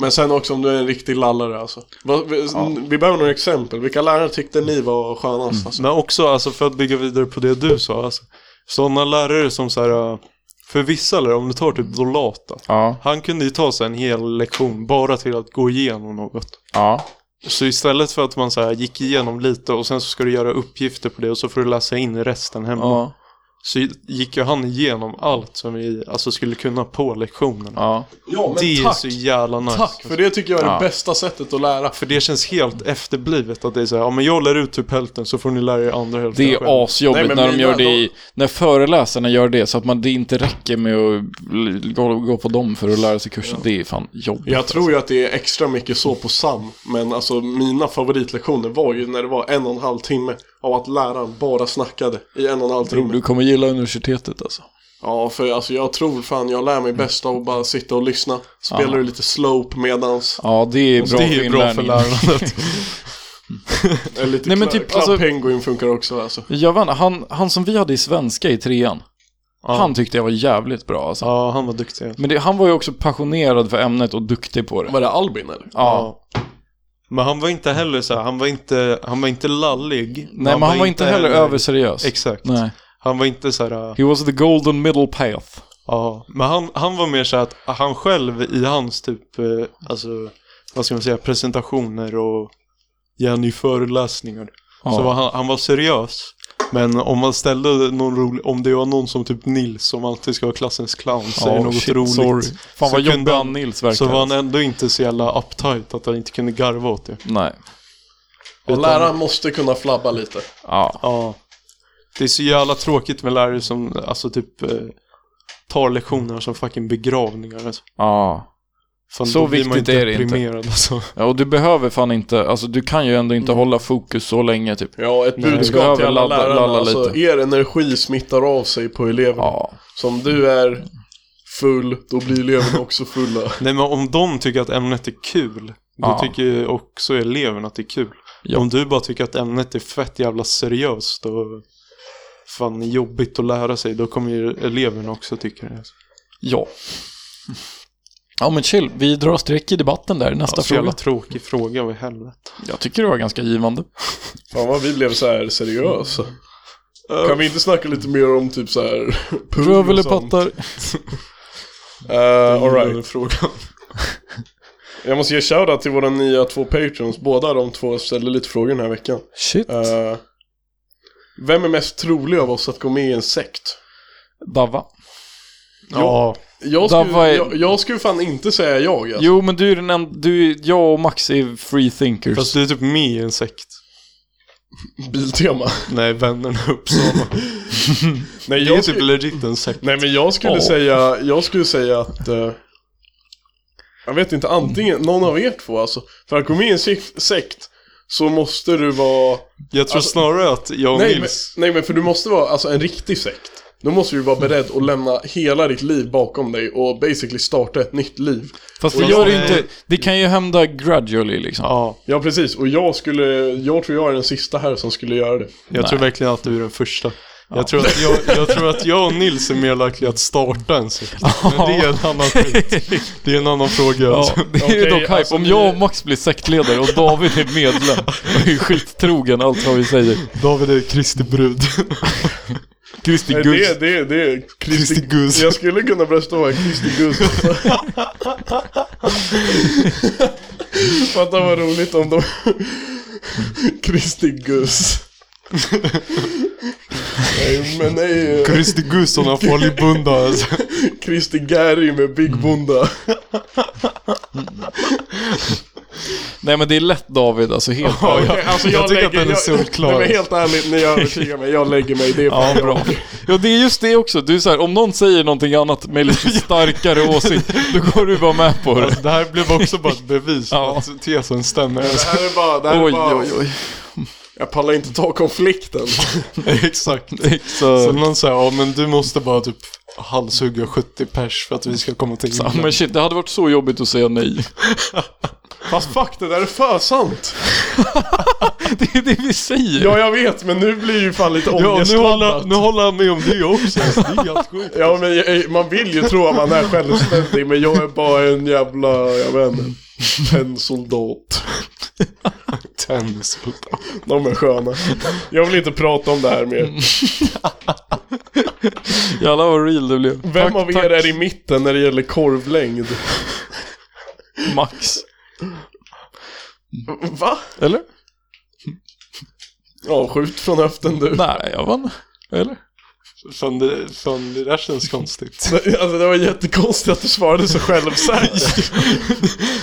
Men sen också om du är en riktig lallare alltså. Va, vi, vi behöver några exempel. Vilka lärare tyckte ni var skönast?
Mm.
Alltså?
Men också alltså, för att bygga vidare på det du sa. Alltså, sådana lärare som så här, äh, för vissa lärare, om du tar typ Dolata.
Ja.
Han kunde ju ta sig en hel lektion bara till att gå igenom något.
Ja.
Så istället för att man så här, gick igenom lite och sen så ska du göra uppgifter på det och så får du läsa in resten hemma.
Ja.
Så gick ju han igenom allt som vi alltså, skulle kunna på lektionerna.
ja.
Ja, men
det är
tack!
så jävla nice.
Tack! För det tycker jag är
Ja.
det bästa sättet att lära.
För det känns helt efterblivet att det är så här, ja men jag lär ut typ hälften så får ni lära er andra hälften
Det
själva."
är asjobbigt
Nej, men
när de
mina-
gör det i, när föreläsarna gör det så att man, det inte räcker med att l- gå, gå på dem för att lära sig kursen. Det är fan jobbigt.
Jag tror ju att det är extra mycket så på SAM. Men alltså mina favoritlektioner var ju när det var en och en halv timme av att läraren bara snackade i en och en halv
Tror
timme.
du kommer gilla universitetet alltså.
Ja, för alltså jag tror fan jag
Mm.
lär mig bäst av att bara sitta och lyssna. Spelar du lite
[LAUGHS]
slope medans.
Ja, det är bra
Alltså, det är
för
ju bra för
inlärningen. [LAUGHS]
lärandet.
Eller lite
Nej,
Nej,
men
typ,
typ, alltså-
penguin funkar också alltså.
Jag vann, han, han som vi hade i svenska i trean, han tyckte jag var jävligt bra alltså.
ja, han var duktig.
Men det, han var ju också passionerad för ämnet och duktig på det.
Var det Albin eller?
Ja.
Men han var inte heller så här, han var inte, han var inte lallig.
Nej, men han var inte heller överseriös.
Exakt.
Nej.
Han var inte så här,
He was the golden middle path.
ja. Men han, han var mer så här att han själv i hans typ, eh, alltså, vad ska man säga, presentationer och Jenny föreläsningar.
Ja.
Så var han, han var seriös. Men om man ställde någon rolig, om det var någon som typ Nils som alltid ska vara klassens clown, säger
Ja,
något
shit,
roligt.
sorry. Fan
Så
vad jobbig
kunde han-
han Nils verkar.
Så var han ändå inte så jävla uptight att han inte kunde garva åt det.
Nej.
Och läraren måste kunna flabba lite.
Ja.
Ja. Det är så jävla tråkigt med lärare som alltså typ eh, tar lektioner som fucking begravningar. Alltså.
ja.
Fan,
Så
då blir man ju
viktigt är det inte.
deprimerad, Alltså.
Ja, och du behöver fan inte, alltså du kan ju ändå inte hålla fokus så länge typ.
Ja, ett
behöver
budskap till alla
ladda-
lärarna.
lalla
alltså,
lite.
er energi smittar av sig på eleverna.
Ja.
Så om du är full, då blir eleverna också fulla.
Nej men om de tycker att ämnet är kul, då
Ja.
tycker ju också eleverna att det är kul.
Ja.
Om du bara tycker att ämnet är fett jävla seriöst och fan jobbigt att lära sig, då kommer ju eleverna också tycka det.
Ja. Ja men chill, vi drar streck i debatten där. Nästa
Ja, så jävla
fråga.
tråkig fråga, vad i helvete.
Jag tycker det var ganska givande.
Fan vad vi blev så här seriösa. Kan vi inte snacka lite mer om typ så här [LAUGHS] pung
Röv
och
eller
sånt?
pattar?
Uh,
Den
Alright.
Frågan.
[LAUGHS] Jag måste ge shoutout till våra nya två patrons. Båda de två ställde lite frågor den här veckan.
Shit.
Eh, vem är mest trolig av oss att gå med i en sekt?
Dava.
Ja,
Jag skulle,
Dava är-
jag, jag skulle fan inte säga jag. Alltså.
Jo men du är den enda, du, är- jag och Max är free thinkers.
fast du är typ med i en sekt.
Biltema.
Nej, vännerna i [LAUGHS] Uppsala.
Nej,
Det är
jag
typ
skulle,
legit en sekt.
nej men jag skulle
Ja.
säga, jag skulle säga att... eh, jag vet inte, antingen någon av er två alltså. För att gå med i en sekt, sekt så måste du vara...
Jag tror
Alltså-
snarare att jag och
Nej men,
Nils...
nej men för du måste vara alltså, en riktig sekt. Då måste du vara beredd att lämna hela ditt liv bakom dig och basically starta ett nytt liv.
Fast
Och
det
jag
gör det
är-
inte, det kan ju hända gradually liksom.
Ja,
Ja precis, och jag skulle, jag tror jag är den sista här som skulle göra det.
jag
Nej.
tror verkligen att du är den första. Jag, tror att jag, jag tror att jag och Nils är mer likely att starta en sekt. Men det är en annan, det är en annan fråga.
[LAUGHS] Ja,
Alltså.
det är
Okej,
dock hype.
alltså
Om
ni-
jag och Max blir sektledare och David är medlem och är skittrogen allt vad vi säger.
David är Kristi [LAUGHS] brud.
Kristi
Nej,
Guds.
det, det, det är
Kristi
Kristi
Gus.
Jag skulle kunna brösta vara Kristi Gus. Fatta vad roligt om de... Kristi Gus. nej, men nej. eh,
Kristi Gus och någon farlig bunda alltså.
Kristi Gary med Big Bunda.
Nej men det är lätt David, alltså helt.
[LAUGHS]
Ja, jag,
Alltså,
jag tycker att den är
jag-
solklar.
Nej, men helt ärligt, ni övertygar mig. Jag lägger mig. Det är
Ja,
fan jag.
bra. Ja, det är just det också. Du är så här, om någon säger någonting annat med
[LAUGHS]
lite starkare åsikt, då går du bara med på det.
Alltså, det här blev också bara ett bevis
Ja.
på att tesen [LAUGHS] stämmer.
Det
Alltså.
här är bara... Det här är
Oj,
bara
oj, oj.
Jag pallar inte ta konflikten.
Exakt. Så någon säger, ja men du måste bara typ halshugga 70 pers för att vi ska komma till
Ja,
himlen."
men shit, det hade varit så jobbigt att säga nej.
Fast fuck, det där är för sant.
Det är det vi säger.
Ja, jag vet, men nu blir ju fan lite
Ja, nu håller,
ångestladdat.
nu håller han med om det också. Alltså, det är helt sjukt.
Ja, men jag- man vill ju tro att man är självständig, men jag är bara en jävla, jag vet inte, pennsoldat.
Tennis.
De är sköna. Jag vill inte prata om det här mer.
Jävlar vad real det blev.
Vem
Tack,
av er
tack,
är i mitten när det gäller korvlängd?
Max?
Va?
Eller?
Ja, skjut från höften du.
Nej, jag vann. Eller?
Fan det, fan, det där känns konstigt.
Alltså det var jättekonstigt att du svarade
[LAUGHS]
så självsäkert.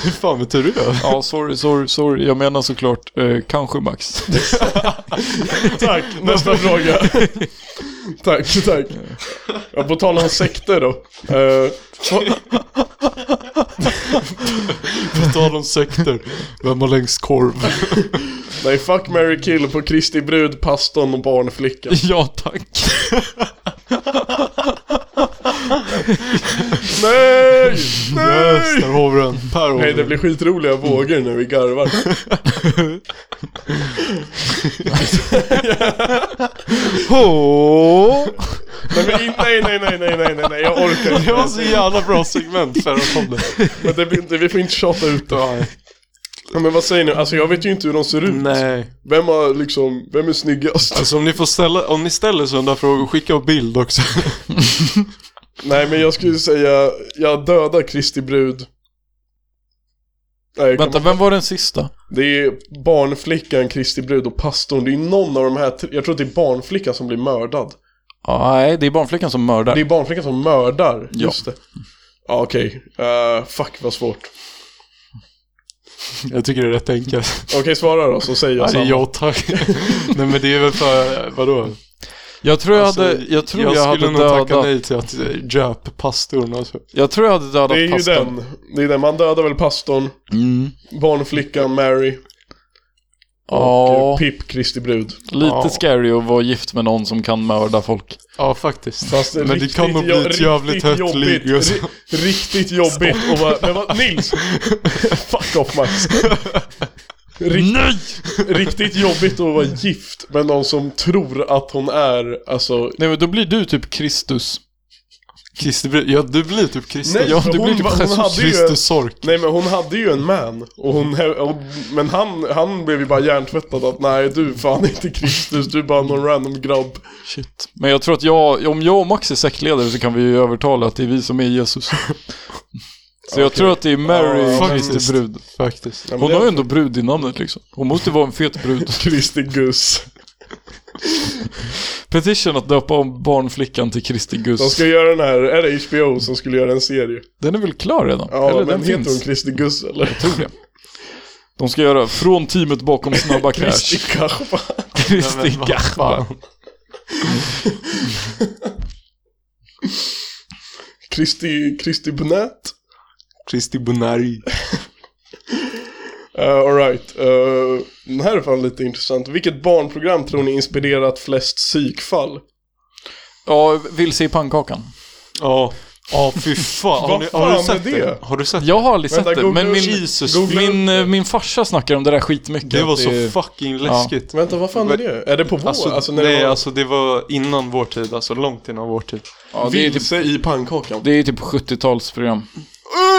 Hur fan vet du det?
Ja, sorry, sorry, sorry. Jag menar såklart eh, kanske Max.
Tack, [LAUGHS]
[LAUGHS]
nästa fråga. Tack, tack. Ja, på tal om sekter då. Eh,
På tal om sekter. Vem har längst korv?
nej, fuck, Mary kill på Kristi brud, pastorn
[LAUGHS]
och barnflickan.
ja, tack.
Nej!
Yes, där har vi den. Per har
Nej,
vi
det
den.
blir skitroliga vågor när vi garvar. Nej, men in, nej, nej, nej, nej, nej, nej, nej, jag orkar
Det var
inte.
så jävla bra segment för att kom det.
Men det, blir inte- vi får inte tjata ut det. Ja, men vad säger ni? Alltså jag vet ju inte hur de ser ut.
Nej.
Vem har liksom, vem är snyggast?
Alltså om ni får ställa, om ni ställer sådana frågor, skicka en bild också.
Nej, men jag skulle säga, jag dödar Kristi brud. Nej,
Vänta,
Vänta.
vem var den sista?
det är barnflickan, Kristi brud och pastorn. Det är någon av de här, tre- jag tror att det är barnflickan som blir mördad.
Ah, nej, det är barnflickan som mördar.
Det är barnflickan som mördar,
Ja.
just det. Ja, okej. Eh, fuck vad svårt.
Jag tycker det är rätt enkelt. Alltså,
Okej, svara då så säger jag
Ja, det är
samma.
jag tack. Nej men det är väl för, vadå?
Jag tror jag
Alltså,
hade, jag tror jag,
jag
hade
skulle nog tacka
dödat,
nej till att eh, Jap, pastorn alltså.
jag tror jag hade dödat
Det är ju
pastorn.
den. Det är den. Man dödar väl pastorn,
Mm.
barnflickan Mary och
Ja,
eh, Pip, Kristi brud.
lite
Ja.
scary att vara gift med någon som kan mörda folk.
Ja faktiskt.
Fast
Men det
riktigt
kan nog bli
jo-
ett jävligt
riktigt
hett
jobbigt,
ligg, alltså.
ri-
[LAUGHS]
Riktigt jobbigt och bara, men vad, Nils! Fuck off Max! Nej! Riktigt jobbigt att vara gift med någon som tror att hon är, alltså...
Nej men då blir du typ Kristus.
Kristi, blir- ja du blir typ Kristi.
Nej,
Ja,
för
du
hon
blir typ
var- hon
Jesus
hade ju-
Kristus sork.
Nej men hon hade ju en man, och hon, och, men han, han blev ju bara hjärntvättad att nej du är fan inte Kristus, du är bara någon random grabb.
Shit. Men jag tror att jag, om jag och Max är sektledare så kan vi ju övertala att det är vi som är
[LAUGHS]
Jesus. Så jag tror att det är Mary,
Ja,
Kristi
faktiskt.
brud.
Faktiskt.
Ja, men
Hon
det-
har ju ändå brud i namnet liksom. Hon måste vara en fet brud.
[LAUGHS] Kristi Guss.
Petition att döpa om barnflickan till Kristi
De
Guss.
ska göra den här, är det HBO som skulle göra en serie?
Den är väl klar redan?
Ja,
Eller
men
den
heter hon
finns.
Kristi Guss eller?
Tror det. De ska göra från teamet bakom Snabba
[LAUGHS] Kristi
Cash.
[LAUGHS] Kappa.
Kristi Gachman.
Kristi, Kristi Bonnet.
Kristi Bonari.
Uh, Alright, uh, den här är fan lite intressant. Vilket barnprogram tror ni inspirerat flest psykfall?
Ja, vilse i pannkakan.
Ja. Ja, fy fan. Har,
Vad
ni, har du
fan är
sett
det?
det? Har du sett
Jag har aldrig
Vänta,
sett det,
googla
men
upp-
min,
Jesus. googla upp
min,
det.
eh, min farsa snackar om det där skitmycket.
det? Det var
Att
så
är-
fucking läskigt.
Vänta, vad fan är det? Är det på vår?
Alltså,
Alltså, när
nej,
det var
alltså det var innan vår tid. Alltså långt innan vår tid.
ja, det är typ,
vilse i pannkakan?
det är typ 70-talsprogram.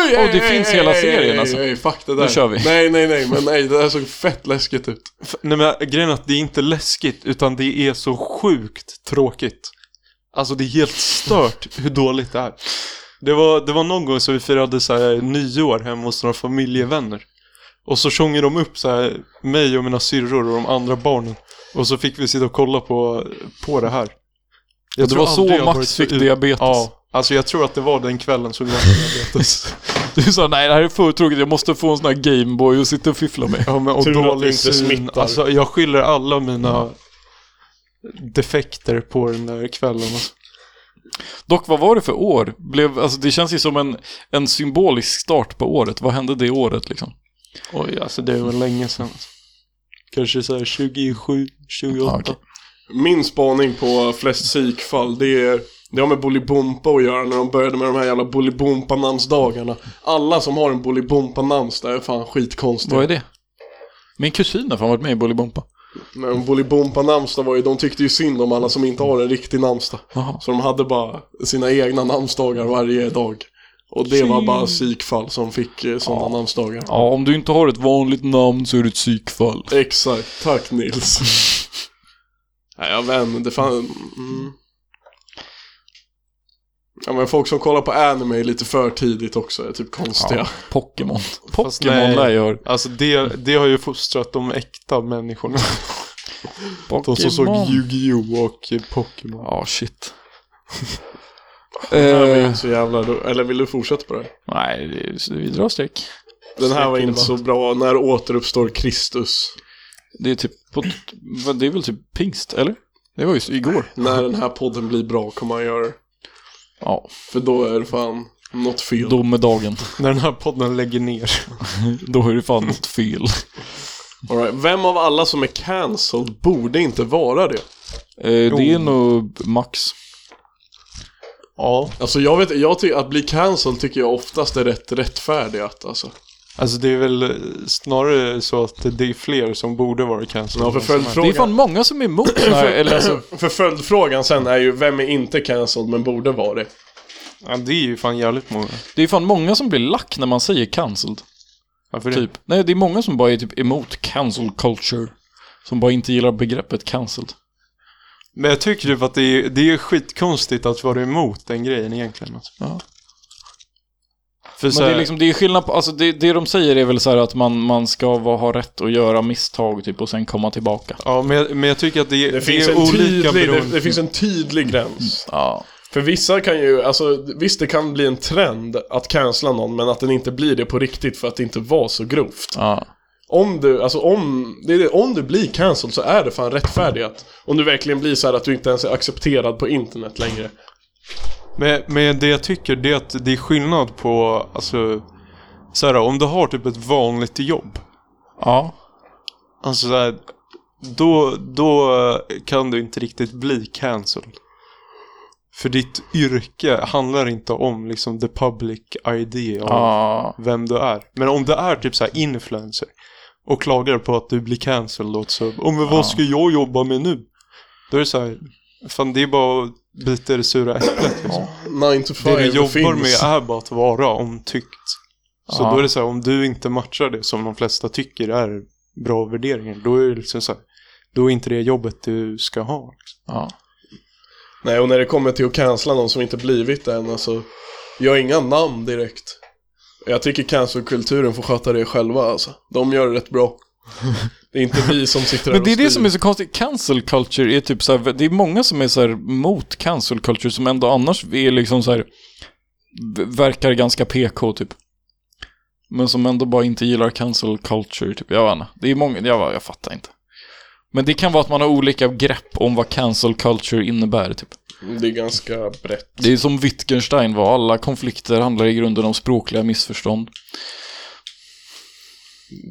Oj,
det finns hela serien,
ej,
alltså.
Ej, fuck det där.
Nu kör vi.
Nej, nej, nej, men nej, det där såg fett läskigt ut.
F- Nej men grejen är att det är inte läskigt utan det är så sjukt tråkigt. Alltså det är helt stört hur dåligt det är. Det var, det var någon gång som vi firade så här, nyår hemma hos några familjevänner. Och så sjunger de upp så här, mig och mina syrror och de andra barnen. Och så fick vi sitta och kolla på, på det här. Jag
det
tror
var så
aldrig jag
Max
varit
fick
ut-
diabetes.
Ja, alltså jag tror att det var den kvällen som jag
[LAUGHS]
fick diabetes.
Du sa nej det här är för tråkigt, jag måste få en sån här Gameboy och sitta och fiffla med.
Ja, men, och
Tur att
dålig
vi inte
syn.
smittar.
Alltså, jag skyller alla mina defekter på den där kvällen. Alltså.
Dock, vad var det för år? Blev, alltså, det känns ju som en, en symbolisk start på året. Vad hände det året liksom?
Oj, alltså det var länge sedan. Alltså. Kanske så här 27, 28.
Ja, Ah, okej.
Min spaning på flest psykfall, det är det har med Bolibompa att göra när de började med de här jävla Bolibompa-namnsdagarna. Alla som har en Bolibompa-namns där är fan skitkonstiga.
Vad är det? Min kusin har fan varit med i Bolibompa.
När de Bolibompa namnsdag var ju, de tyckte ju synd om alla som inte har en riktig namnsdag.
Jaha.
Så de hade bara sina egna namnsdagar varje dag. Och det var bara psykfall som fick eh, sådana namnsdagar.
Ja, om du inte har ett vanligt namn så är du ett psykfall.
Exakt, tack [LAUGHS] Nils. Nej, jag vet inte, det fan... Mm. Ja men folk som kollar på anime lite för tidigt också är typ konstiga.
Pokémon. Pokémon
nej.
lär jag hör.
Alltså det, det har ju fostrat de äkta
[LAUGHS]
människorna. De som såg
Pokémon.
Yu-Gi-Oh! och Pokémon.
Ja, shit.
Det här var ju
eh,
inte så jävla... ro- Eller vill du fortsätta på det?
nej, det- vi drar streck.
Den här var
Säker
inte så bra. När återuppstår Kristus?
Det är typ på, vad- det är väl typ pingst, eller? Det var just igår.
När den här podden blir bra kommer han göra det.
Ja,
För då är det fan något fel.
domedagen.
När den här podden lägger ner.
Då är det fan något fel.
All right. Vem av alla som är cancelled borde inte vara det?
Eh, det är nog max.
Ja.
Alltså jag vet jag tycker att bli cancelled tycker jag oftast är rätt rättfärdigt alltså.
Alltså det är väl eh, snarare så att det är fler som borde vara cancer.
Ja, för
Det
följdfrågan,
är fan många som är emot det [CLEARS THROAT] här, eller alltså,
för följdfrågan sen är ju vem är inte cancelled men borde vara det?
ja, det är ju fan jävligt många.
Det är fan många som blir lack när man säger cancelled.
Varför det?
Typ. Nej, det är många som bara är typ emot cancel culture. Som bara inte gillar begreppet cancelled.
Men jag tycker typ att det är, det är skitkonstigt att vara emot den grejen egentligen. Alltså.
Ja.
För så
Men det är
här-
liksom, det är skillnad på, alltså det, det de säger är väl så här att man, man ska vara, ha rätt att göra misstag typ och sen komma tillbaka.
ja, men, jag- men jag tycker att det, är-
Det finns,
det är
en
olika
tydlig, det,
beroende.
det finns en tydlig gräns.
Ja.
För vissa kan ju, alltså visst det kan bli en trend att cancella någon men att den inte blir det på riktigt för att det inte var så grovt.
ja.
Om du, alltså om, det är det, om du blir cancelled så är det fan rättfärdigat. Om du verkligen blir så här att du inte ens är accepterad på internet längre.
Men, men det jag tycker det är att det är skillnad på, alltså, så här, om du har typ ett vanligt jobb.
Ja.
Alltså så här, då, då eh, kan du inte riktigt bli cancelled. För ditt yrke handlar inte om liksom the public idea av
ja.
vem du är. Men om du är typ så här influencer och klagar på att du blir cancelled åt sub. Om vad ska jag jobba med nu? Då är det så här, fan det är bara att bita i det sura äpplet liksom.
9 to 5
Det du jobbar
finns.
med är bara att vara omtyckt. Så
Ja.
då är det så här, om du inte matchar det som de flesta tycker är bra värderingar, då är det liksom så här, då är inte det jobbet du ska ha. liksom.
Ja.
Nej, och när det kommer till att cancella någon som inte blivit det än, alltså. Jag har inga namn direkt. Jag tycker cancelkulturen får sköta det själva alltså. De gör det
[LAUGHS]
rätt bra. Det är inte vi som sitter här
Men det är
och
det
styr.
som är så konstigt. Cancel culture är typ så här, det är många som är så här mot cancel culture som ändå annars är liksom så här, v- verkar ganska PK typ. Men som ändå bara inte gillar cancel culture typ. Jag vet inte. Det är många, jag, jag fattar inte. Men det kan vara att man har olika grepp om vad cancel culture innebär typ.
Det är ganska brett.
Det är som Wittgenstein var, alla konflikter handlar i grunden om språkliga missförstånd.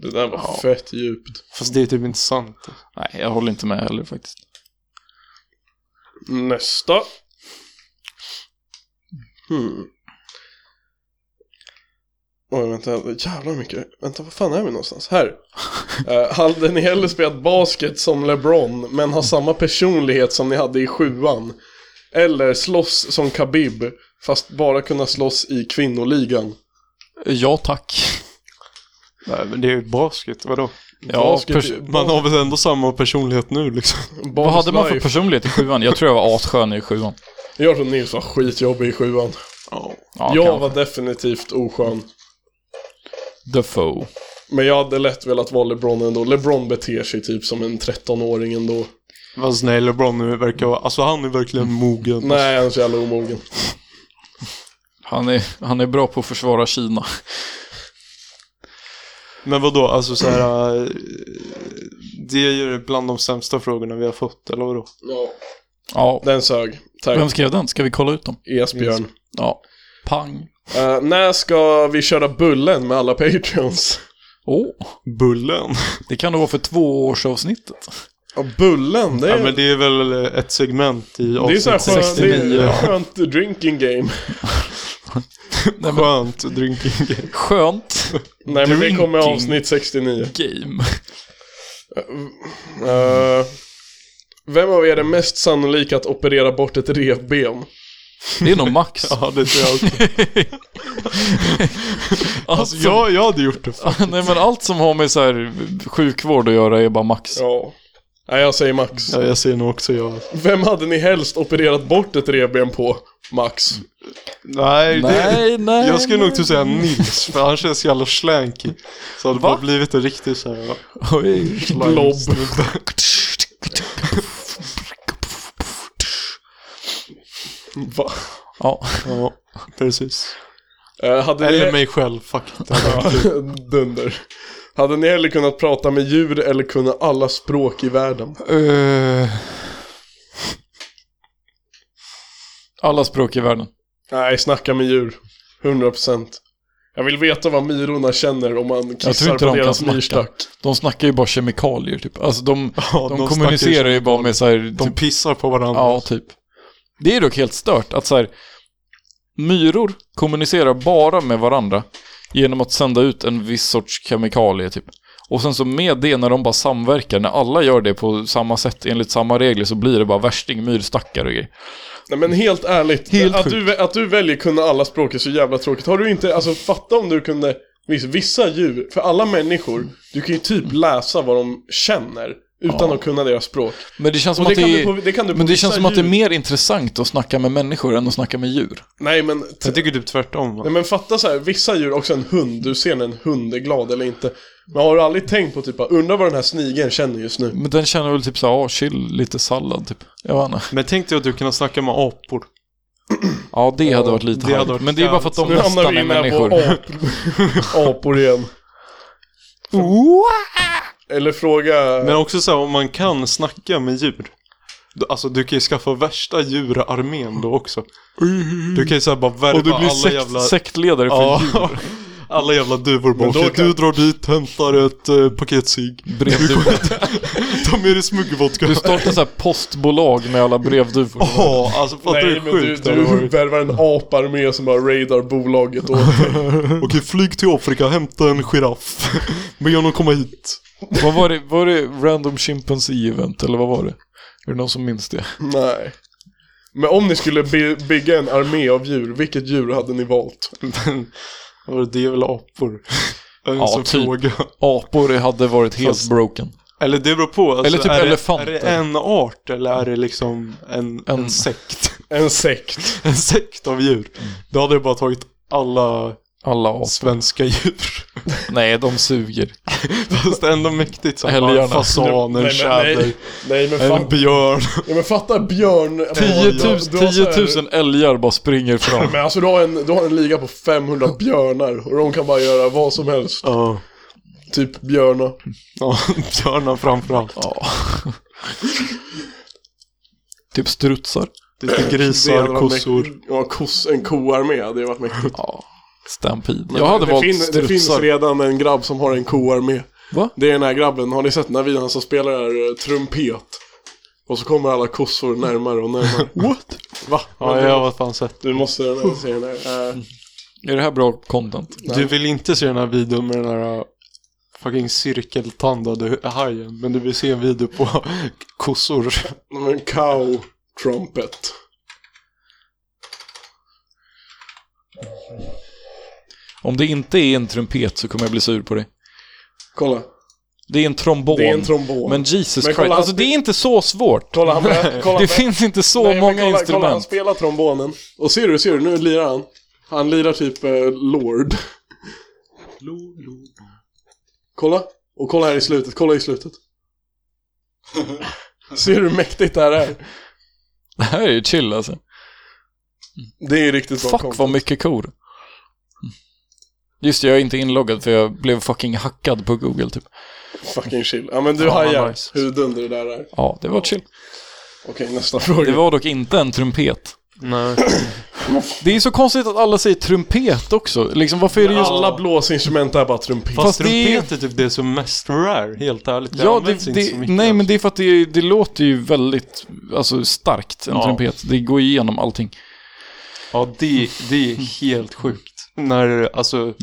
Det där var fett djupt.
Fast det är typ inte sant.
Nej, jag håller inte med heller faktiskt.
Nästa. Hmm. Oj, vänta. Jävlar mycket. Vänta, vad fan är vi någonstans? Här.
[LAUGHS]
Eh, hade ni hellre spelat basket som LeBron, men har samma personlighet som ni hade i sjuan? Eller slåss som Khabib, fast bara kunna slåss i kvinnoligan?
Ja, tack.
Nej, men det är ju basket, vadå?
Ja, pers-
Man har väl ändå samma personlighet nu liksom.
Vad hade man för personlighet i sjuan? Jag tror jag var asskön i sjuan.
Jag tror Nils var skitjobbig i sjuan.
Ja,
jag
kanske.
var definitivt oskön.
Defoe.
Men jag hade lätt velat vara LeBron ändå. LeBron beter sig typ som en 13-åring ändå.
Fast nej, LeBron nu verkar vara, alltså han är verkligen mogen.
Nej, han är så jävla omogen.
Han är, han är bra på att försvara Kina.
Men vadå, alltså så här. eh, Det är ju bland de sämsta frågorna vi har fått, eller vadå?
Ja.
Ja.
Den sög. Tack,
Vem skrev den? Ska vi kolla ut dem?
Esbjörn.
Ja. Pang.
Eh, när ska vi köra bullen med alla patreons?
Åh,
Bullen.
det kan då vara för tvåårsavsnittet.
Ja, bullen, det är...
Ja, men det är väl ett segment i
det är så här
avsnitt
skönt, det
69.
är skönt drinking game.
Skönt drinking game.
[LAUGHS]
Skönt
Nej men det kommer
Drinking.
avsnitt 69.
game.
Eh, vem av er är mest sannolik att operera bort ett revben?
Det är nog Max.
Ja, det tror jag också.
Alltså,
Alltså, jag, jag hade gjort det. fan.
[LAUGHS] Nej men allt som har med så här sjukvård att göra är bara Max.
Ja. Nej jag säger Max.
Ja, jag ser nog också jag.
Vem hade ni helst opererat bort ett revben på? Max.
Nej, det...
Nej, nej.
Jag skulle
nej.
nog till säga Nils, för han känns så jävla slanky. Så hade det
Va?
bara blivit en riktig så här...
Oj.
Blob. Va?
Ja.
Ja, precis.
Eh, hade ni...
Eller mig själv, fuck it.
[LAUGHS] Dunder. Hade ni hellre kunnat prata med djur eller kunna alla språk i världen?
Eh. Alla språk i världen.
Nej, snacka med djur. 100%. Jag vill veta vad myrorna känner om man
Jag tror
kissar
inte
på
de kan
deras
snacka.
myrstack.
De snackar ju bara kemikalier typ. Alltså de,
Ja,
de,
snackar
kommunicerar ju bara med så här,
De
typ,
pissar på varandra.
ja typ. Det är dock helt stört att så här, myror kommunicerar bara med varandra genom att sända ut en viss sorts kemikalie typ. Och sen så med det när de bara samverkar, när alla gör det på samma sätt enligt samma regler så blir det bara värsting, myrstackar och grejer.
Nej men helt ärligt,
Helt
att, du, att du väljer kunna alla språk är så jävla tråkigt. Har du inte, alltså fatta om du kunde, visst, vissa djur, för alla människor, du kan ju typ läsa vad de känner utan att kunna deras språk.
Men det känns som
Och det
att
kan
det
du på,
är...
det kan du på
Men det
vissa
känns som att det är
djur.
mer intressant att snacka med människor än att snacka med djur.
Nej men, t-
Jag tycker typ tvärtom. Va?
nej men fatta så här, vissa djur, också en hund, du ser när en hund är glad eller inte. Men har du aldrig tänkt på typ, undrar vad den här snigeln känner just nu?
Men den känner väl typ såhär, ah, chill, lite sallad typ. Jag vet inte.
Men tänk dig att du kunde snacka med apor.
Ja, det hade varit lite
det hade
härligt.
varit
Men det är bara för att de
Nu hamnar
nästan
vi
är
in här
människor.
på
[LAUGHS]
ap apor igen. Eller fråga...
Men också så här, om man kan snacka med djur. då- Alltså du kan ju skaffa värsta djurarmén då också. Du kan ju såhär bara värva
Och du blir
alla
sekt,
jävla...
sektledare för
ja.
djur.
[LAUGHS] Alla jävla duvor bara
Men då
"Okej,
kan-
Du drar dit, hämtar ett eh, paket cigg. [LAUGHS]
Brevduvor.
Ta med dig smuggelvodka.
Du startar så här postbolag med alla brevduvor.
[LAUGHS] Ja, alltså fattar du
Nej
hur
men du,
sjukt det hade
du [LAUGHS]
varit?
värvar en aparmé som bara raidar bolaget åt
[LAUGHS]
dig.
[LAUGHS] Okej, flyg till Afrika, hämta en giraff. [LAUGHS] Be honom komma hit.
Vad var det? Var det Random Chimpanzee Event eller vad var det? Är det någon som minns det?
Nej. Men om ni skulle by- bygga en armé av djur, vilket djur hade ni valt?
Var det är väl apor? En
Ja,
sån
typ.
fråga.
Apor hade varit helt
Fast-
broken.
Eller det beror på. Alltså,
Eller typ
är
elefanter.
Det, är det en art eller är det liksom en, en.
En.
sekt? [LAUGHS]
En sekt.
En sekt av djur. Då hade jag bara tagit alla
Alla Mm. apor.
svenska djur. [LAUGHS]
Nej, de suger.
Fast ändå mäktigt som
Älgarna.
bara fasaner,
nej, men,
tjäder,
nej, nej men
en
fan.
björn. [LAUGHS]
Ja, men fatta björn.
10
Du har
000,
så här-
10 000 älgar bara springer
[LAUGHS]
fram.
Men alltså du har, en, du har en liga på 500 björnar och de kan bara göra vad som helst.
Ja,
Typ björnar.
ja, björnar framförallt.
Ja. typ strutsar. [LAUGHS]
Lite
Det hade
grisar,
varit
kossor.
mäktigt. Ja, koss, en koarmé hade ju varit mäktigt.
Ja. Stampede. Jag hade
det,
valt
fin-
strutsar.
det finns redan en grabb som har en koarmé.
Va?
Det är den här grabben, har ni sett den här videon som spelar eh, trumpet? Och så kommer alla kossor närmare
[LAUGHS]
och närmare.
What?
Va?
Ja, jag har fan sett.
Du måste den här, se den här. Eh,
Är det här bra content?
Du vill inte se den här videon med den här uh, fucking cirkeltandade hajen. Men du vill se en video på [LAUGHS] kossor.
men cow trumpet.
Om det inte är en trumpet så kommer jag bli sur på dig.
Kolla,
Det är en trombon.
det är en trombon.
Men Jesus
Men kolla,
Christ,
han
alltså det är inte så svårt.
kolla,
[LAUGHS]
han börjar- kolla,
Det
han börjar-
finns inte så
Nej, men
många
kolla,
instrument.
Kolla, han spelar trombonen. Och ser du, ser du, nu lirar han. Han lirar typ eh, Lord. Kolla, och kolla här i slutet, kolla i slutet. ser du hur mäktigt det här är?
Det här är ju chill alltså.
Det är riktigt bra
Fuck
content.
vad mycket kor. Just det, jag är inte inloggad för jag blev fucking hackad på Google typ.
Fucking chill. Ja men du
Ja,
hajar
nice.
hur dunder det där är.
Ja, det var chill.
Okej, nästa fråga.
Det var dock inte en trumpet.
[CLEARS THROAT] Nej.
Det är så konstigt att alla säger trumpet också. Liksom varför är det just...
Alla blåsinstrument är bara trumpet.
Fast
Fast det är-
trumpet är typ det som är mest rare, helt ärligt.
Ja,
används
det,
inte så
det,
mycket.
nej
alltså.
men det är för att det, det låter ju väldigt alltså, starkt, en
Ja.
trumpet. Det går igenom allting.
Ja, det, det
Mm.
är helt sjukt. När, alltså,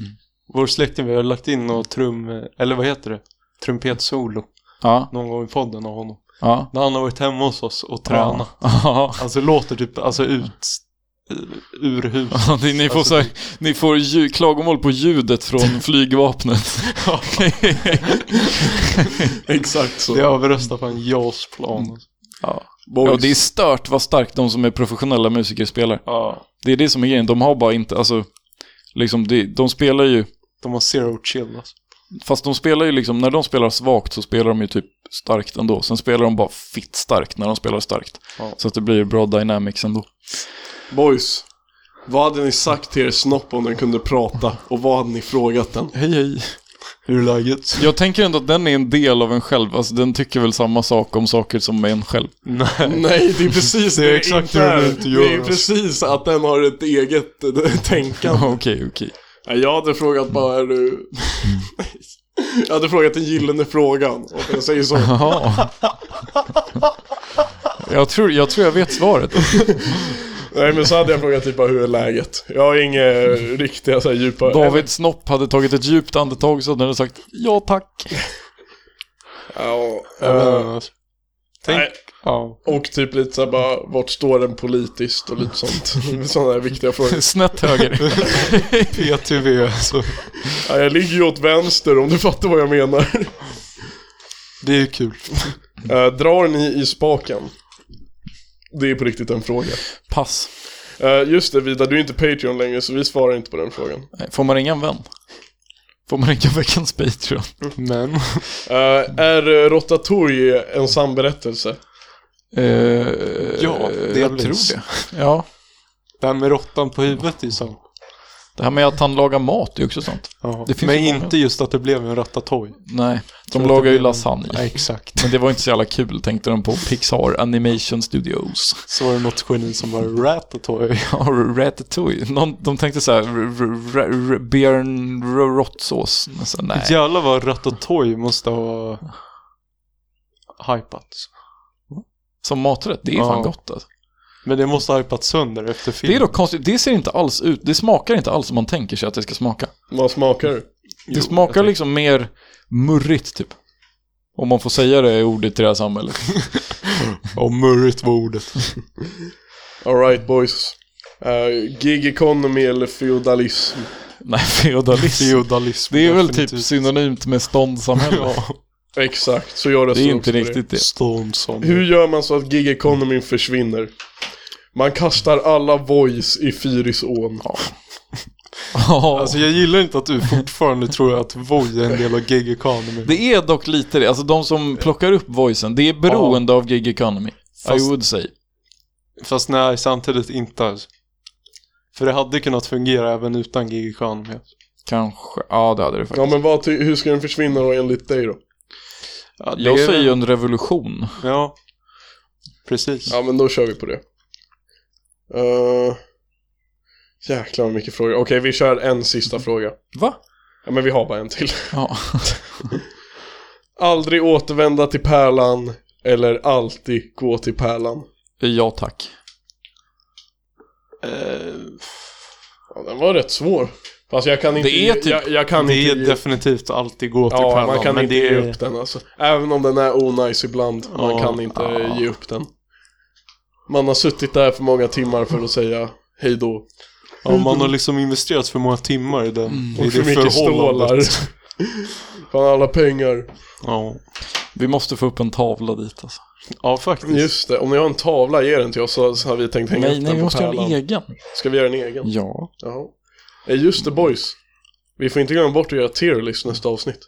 vår släkting, vi har lagt in något trum, eller vad heter det? Trumpetsolo,
Ja,
någon gång i podden av honom.
ja.
När han har varit hemma hos oss och tränat.
Ja. [LAUGHS]
Alltså låter typ, alltså ut, eh, ur huset.
Ja, ni, ni får,
Alltså,
så här, ni får ju, klagomål på ljudet från flygvapnet. [LAUGHS]
Exakt så.
Det överröstar fan
Mm.
JAS-plan. alltså.
ja. Ja, det är stört vad starkt de som är professionella musiker spelar.
Ja.
Det är det som är grejen. De har bara inte, alltså, liksom, det, de spelar ju,
De har zero chill alltså.
fast de spelar ju liksom, när de spelar svagt så spelar de ju typ starkt ändå. Sen spelar de bara fitt starkt när de spelar starkt.
Ja.
Så att det blir bra dynamics ändå.
Boys, vad hade ni sagt till er snopp om den kunde prata? Och vad hade ni frågat den?
Hej hej. Hur är läget?
Jag tänker ändå att den är en del av en själv. Alltså den tycker väl samma sak om saker som en själv.
Nej.
Nej, det är precis
[LAUGHS] Det är exakt
inte
hur
är.
den inte gör,
Det är
alltså.
precis att den har ett eget eh, tänkande.
Okej, okej.
Ja, Jag hade frågat bara, är
Mm.
du... [LAUGHS] Jag hade frågat den gyllene frågan. Och jag säger så.
Jaha. Jag tror, jag tror jag vet svaret.
Nej, men så hade jag frågat typ bara, hur är läget? Jag har inga riktiga så här djupa...
David Snopp hade tagit ett djupt andetag så hade han sagt ja tack. [LAUGHS]
Ja,
Jag vet
eh,
inte, alltså. Tänk.
nej.
Ja.
Och typ lite såhär bara, vart står den politiskt och lite sånt. [LAUGHS] Sådana här viktiga
[LAUGHS]
frågor.
Snett höger.
PTV alltså.
Ja, jag ligger ju åt vänster om du fattar vad jag menar. [LAUGHS]
Det är ju kul.
Eh, drar ni i spaken? Det är på riktigt en fråga.
Pass.
Eh, just det Vida, du är inte Patreon längre så vi svarar inte på den frågan.
Nej, Får man ringa en vän? Får man ringa veckans Patreon?
Men.
Eh, är eh, Rotatori en sann berättelse?
Eh,
Ja, det är
jag
väl
tror
en s-
det. Ja,
Det här med råttan på huvudet är sant.
Det här med att han lagar mat är ju också sånt.
Ja.
Det finns
Men
ju många.
inte just att det blev en ratatouille.
Nej, de
att
lagar
det
ju
blir-
lasagne.
Nej, exakt.
Men det var inte så jävla kul tänkte de på Pixar Animation [LAUGHS] Studios.
Så var det något geni som var ratatouille.
Ja, Ratatouille. Någon, de tänkte så här, r- r- r- r- Björn r- Råttsås. Men så, Nej.
[LAUGHS] Jävlar vad ratatouille måste ha hypats.
Som maträtt, det är
Ja.
fan gott alltså.
Men det måste ha hypats sönder efter
Det är
filmen.
dock konstigt, det ser inte alls ut, det smakar inte alls som man tänker sig att det ska smaka.
Vad smakar det?
Det smakar liksom mer murrigt typ. Om man får säga det ordet i det här samhället. liksom-
Och murrigt var ordet.
Alright boys. Eh, gig economy eller feodalism?
[LAUGHS] Nej, feodalism.
Feodalism.
Det är väl typ
definitivt.
synonymt med
[LAUGHS]
ståndssamhälle.
Exakt, så gör
Det
det så
är inte
också
riktigt det.
Ståndsson.
Hur gör man så att gig economy försvinner? Man kastar alla voice i Fyrisån.
Ja.
Alltså jag gillar inte att du fortfarande tror att Voi är en del av gig economy.
Det är dock lite det, alltså de som plockar upp voicen, det är beroende av gig economy. I
Fast-
would say.
Fast nej, samtidigt inte alls. För det hade kunnat fungera även utan gig economy.
Kanske, ja det hade det
Ja
faktiskt.
men vad, ty- hur ska den försvinna då enligt dig då?
Ja, det
Jag
är-
säger ju en revolution.
Ja. Precis.
Ja men då kör vi på det. Uh, jäklar vad mycket frågor. Okej vi kör en sista fråga.
Va?
Ja men vi har bara en till. [LAUGHS]
Ja. [LAUGHS]
Aldrig återvända till pärlan eller alltid gå till pärlan.
ja tack.
Eh,
Ja, den var rätt svår. Fast jag kan inte...
Det är typ-
jag, jag kan
det
inte
är
ge-
definitivt alltid gå till
Ja,
Pärlan.
man kan
men
inte
det
ge
är...
upp den alltså. Även om den är onajs ibland, man
Ja,
kan inte ge upp den. Man har suttit där för många timmar för att säga hej då.
Ja, man har liksom investerat för många timmar i den. I
Mm. Och för mycket stålar. [LAUGHS] Fan alla pengar.
Ja.
Vi måste få upp en tavla dit alltså.
ja, faktiskt.
Just det, om ni har en tavla, ge den till oss så så har vi tänkt hänga
Nej,
upp
nej
den
vi
på
måste göra
pärlan.
en egen.
Ska vi göra en egen?
Ja.
Jaha. Eh, Just det boys. Vi får inte glömma bort att göra tier list nästa avsnitt.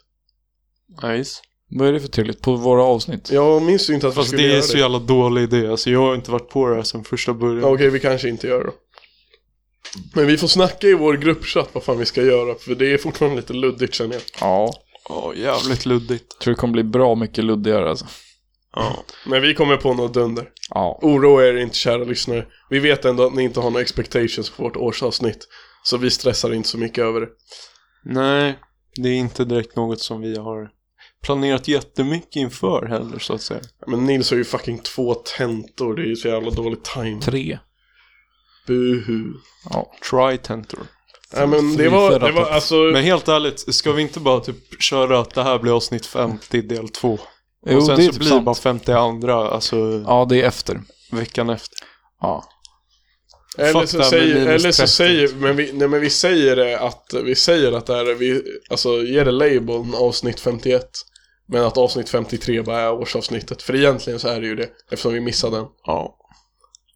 Nice.
Vad är det för trevligt? På våra avsnitt?
Jag minns ju inte att vi
Fast
skulle
det är
göra
så
det.
jävla dålig idé. Alltså, jag har inte varit på det här sedan första början.
Ja, Okej, vi kanske inte gör det då. Men vi får snacka i vår gruppchatt vad fan vi ska göra, för det är fortfarande lite luddigt känner jag.
Ja.
Ja, jävligt luddigt.
Tror det kommer bli bra mycket luddigare alltså.
Ja.
Men vi kommer på något dunder.
Ja.
Oroa er inte kära lyssnare. Vi vet ändå att ni inte har några expectations på vårt årsavsnitt. Så vi stressar inte så mycket över det.
Nej, det är inte direkt något som vi har planerat jättemycket inför heller så att säga.
Men Nils har ju fucking två tentor, det är ju så jävla dålig time.
Tre.
Buhu.
Tri-tentor.
Nej men det var, det var alltså...
Men helt ärligt, ska vi inte bara typ köra att det här blir avsnitt 50 del 2?
Jo,
och sen
det är
så
typ
blir det
sant.
bara 50 andra, alltså
Ja, det är efter.
veckan efter.
Ja.
Eller
fuck
så
that med
säger,
minus
eller så
30.
säger, men vi, nej men vi säger det att, vi säger att det här, är- vi, alltså ger det labeln avsnitt 51. Men att avsnitt 53 bara är årsavsnittet. För egentligen så är det ju det, eftersom vi missade den.
Ja.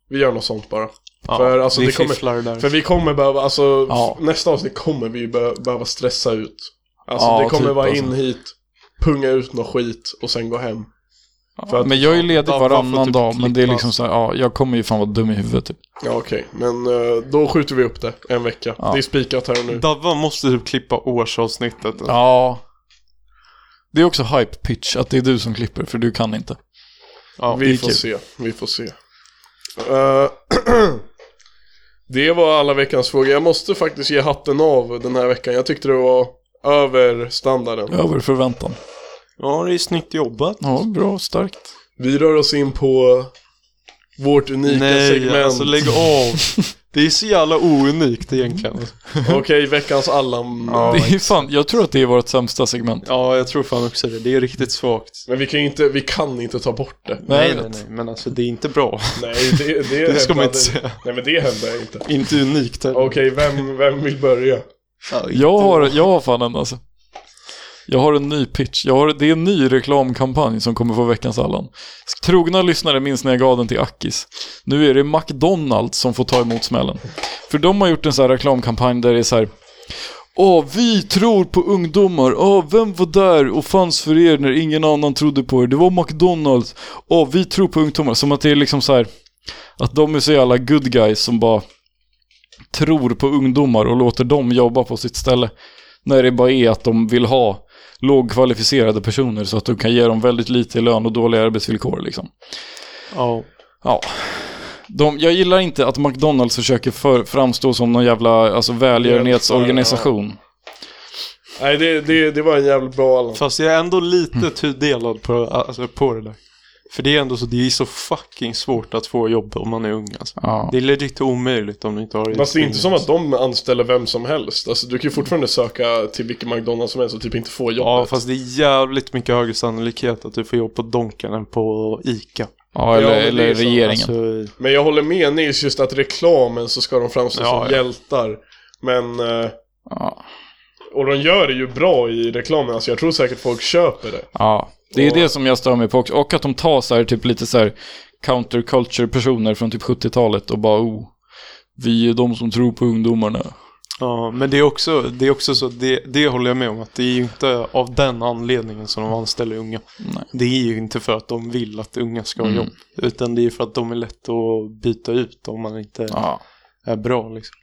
Vi gör något sånt bara.
ja
För, alltså,
vi
det kommer-
fifflar där.
För vi kommer behöva, alltså
Ja.
f- nästa avsnitt kommer vi be- behöva stressa ut. Alltså
Ja,
det kommer
typ,
vara
alltså.
in hit, punga ut något skit och sen gå hem. För att-
men jag är ju ledig
Ja, bara för
varannan
typ
dag, men det är
klippa.
liksom så här, ja, jag kommer ju fan vara dum i huvudet typ.
Ja okej, men eh, då skjuter vi upp det en vecka.
Ja.
Det är spikat här och nu.
Davva måste typ klippa årsavsnittet.
Ja. Det är också hype pitch, att det är du som klipper, för du kan inte.
Ja,
vi får se, vi får se. Eh, [CLEARS THROAT] det var alla veckans frågor. Jag måste faktiskt ge hatten av den här veckan. Jag tyckte det var över standarden.
Över förväntan.
Ja, det är snyggt jobbat.
Ja, bra, starkt.
Vi rör oss in på vårt unika
Nej,
segment.
alltså lägg av. det är så jävla ounikt egentligen.
[LAUGHS] Okej, veckans
[LAUGHS]
Allan.
det är ju fan, jag tror att det är vårt sämsta segment.
Ja, jag tror fan också det. Det är riktigt svagt.
Men vi kan ju inte, vi kan inte ta
[LAUGHS]
bort det.
Nej,
jag
nej,
vet.
nej, men alltså det är inte bra. [LAUGHS]
Nej, det, det,
Det ska
hävdade-
man inte säga.
Nej men det händer inte.
inte unikt heller.
[LAUGHS] Okej, vem, vem vill börja?
Jag har, jag har fan en alltså. Jag har en ny pitch. Jag har, det är en ny reklamkampanj som kommer få veckans Allan. Trogna lyssnare minns när jag gav den till Akis. Nu är det McDonalds som får ta emot smällen. För de har gjort en sån här reklamkampanj där det är så här. Åh, vi tror på ungdomar. Åh, vem var där och fanns för er när ingen annan trodde på er? Det var McDonalds. Åh, vi tror på ungdomar. Som att det är liksom så här. Att de är så jävla good guys som bara tror på ungdomar och låter dem jobba på sitt ställe. När det bara är att de vill ha lågkvalificerade personer så att du kan ge dem väldigt lite i lön och dåliga arbetsvillkor liksom.
Ja.
Ja. De, jag gillar inte att McDonalds försöker för, framstå som någon jävla alltså, välgörenhetsorganisation.
Nej, det, det, det var en jävligt bra Allan.
Fast jag är ändå
Mm.
lite tudelad på, alltså, på det där. För det är ändå så, det är så fucking svårt att få jobb om man är ung alltså.
Ja.
Det är legit omöjligt om du inte har
Fast alltså, det är
utbildning.
inte som att de anställer vem som helst. Alltså du kan ju fortfarande söka till vilken McDonalds som helst och typ inte få jobbet.
Mm. Ja, fast det är jävligt mycket högre sannolikhet att du får jobb på Donken än på Ica.
Ja, eller,
Ja, men det är
eller
så,
regeringen.
Alltså,
Men jag håller med Nils just att reklamen så ska de framstå
Ja,
som
ja.
hjältar. Men, eh,
Ja.
och de gör det ju bra i reklamen. Alltså jag tror säkert folk köper det.
ja, det är
Och-
det som jag stör mig på också. Och att de tar så här, typ lite så här counterculture-personer från typ 70-talet och bara oh, vi är de som tror på ungdomarna.
ja, men det är också, det är också så, det, det håller jag med om att det är ju inte av den anledningen som de anställer unga.
Nej.
Det är ju inte för att de vill att unga ska ha
Mm.
jobb. Utan det är för att de är lätt att byta ut om man inte
Ja.
är bra liksom.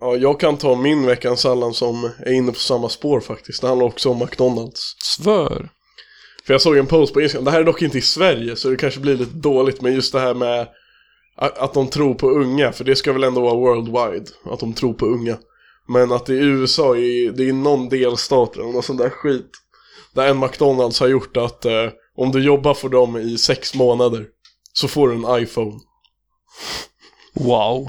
Ja, jag kan ta min veckans Allan som är inne på samma spår faktiskt. Det handlar också om McDonalds.
Svör.
För jag såg en post på Instagram, det här är dock inte i Sverige så det kanske blir lite dåligt men just det här med a- att de tror på unga, för det ska väl ändå vara worldwide, att de tror på unga. Men att i USA, i, det är någon delstat eller någon sån där skit, där en McDonalds har gjort att eh, om du jobbar för dem i sex månader så får du en iPhone.
Wow.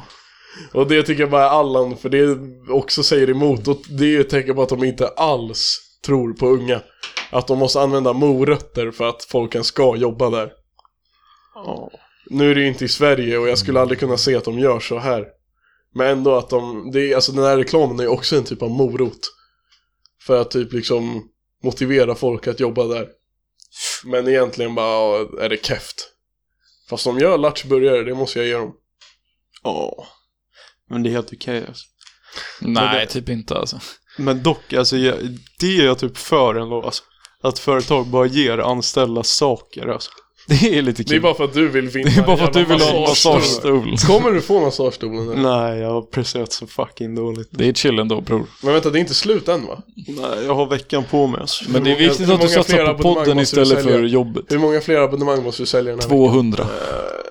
Och det tycker jag bara är Allan, för det också säger emot. Och det är ju ett tecken på att de inte alls tror på unga. Att de måste använda morötter för att folken ska jobba där. Nu är det ju inte i Sverige och jag
Mm.
skulle aldrig kunna se att de gör så här. Men ändå att de, det är, alltså den här reklamen är ju också en typ av morot. För att typ liksom motivera folk att jobba där. Men egentligen bara, ja, är det keft. Fast de gör lattjoburgare, det måste jag ge dem.
Ja. Men det är helt okej alltså.
Nej, typ inte alltså.
Men dock, alltså, jag, det är jag typ för ändå alltså. Att företag bara ger anställda saker alltså.
[LAUGHS] Det är lite kul.
Det är bara för att du vill vinna.
Typ. Det är bara för att du
Jävla
vill ha en
massagestol.
massagestol.
Kommer du få massagestolen nu?
Nej, jag har presterat så fucking dåligt.
Det är chill ändå bror.
Men vänta, det är inte slut än va?
Nej, jag har veckan på mig alltså.
Men det är
många-
viktigt
hur
att du
många fler
satsar på
abonnemang
podden
måste du
istället
sälja?
för jobbet.
Hur många fler abonnemang måste du sälja den här
200.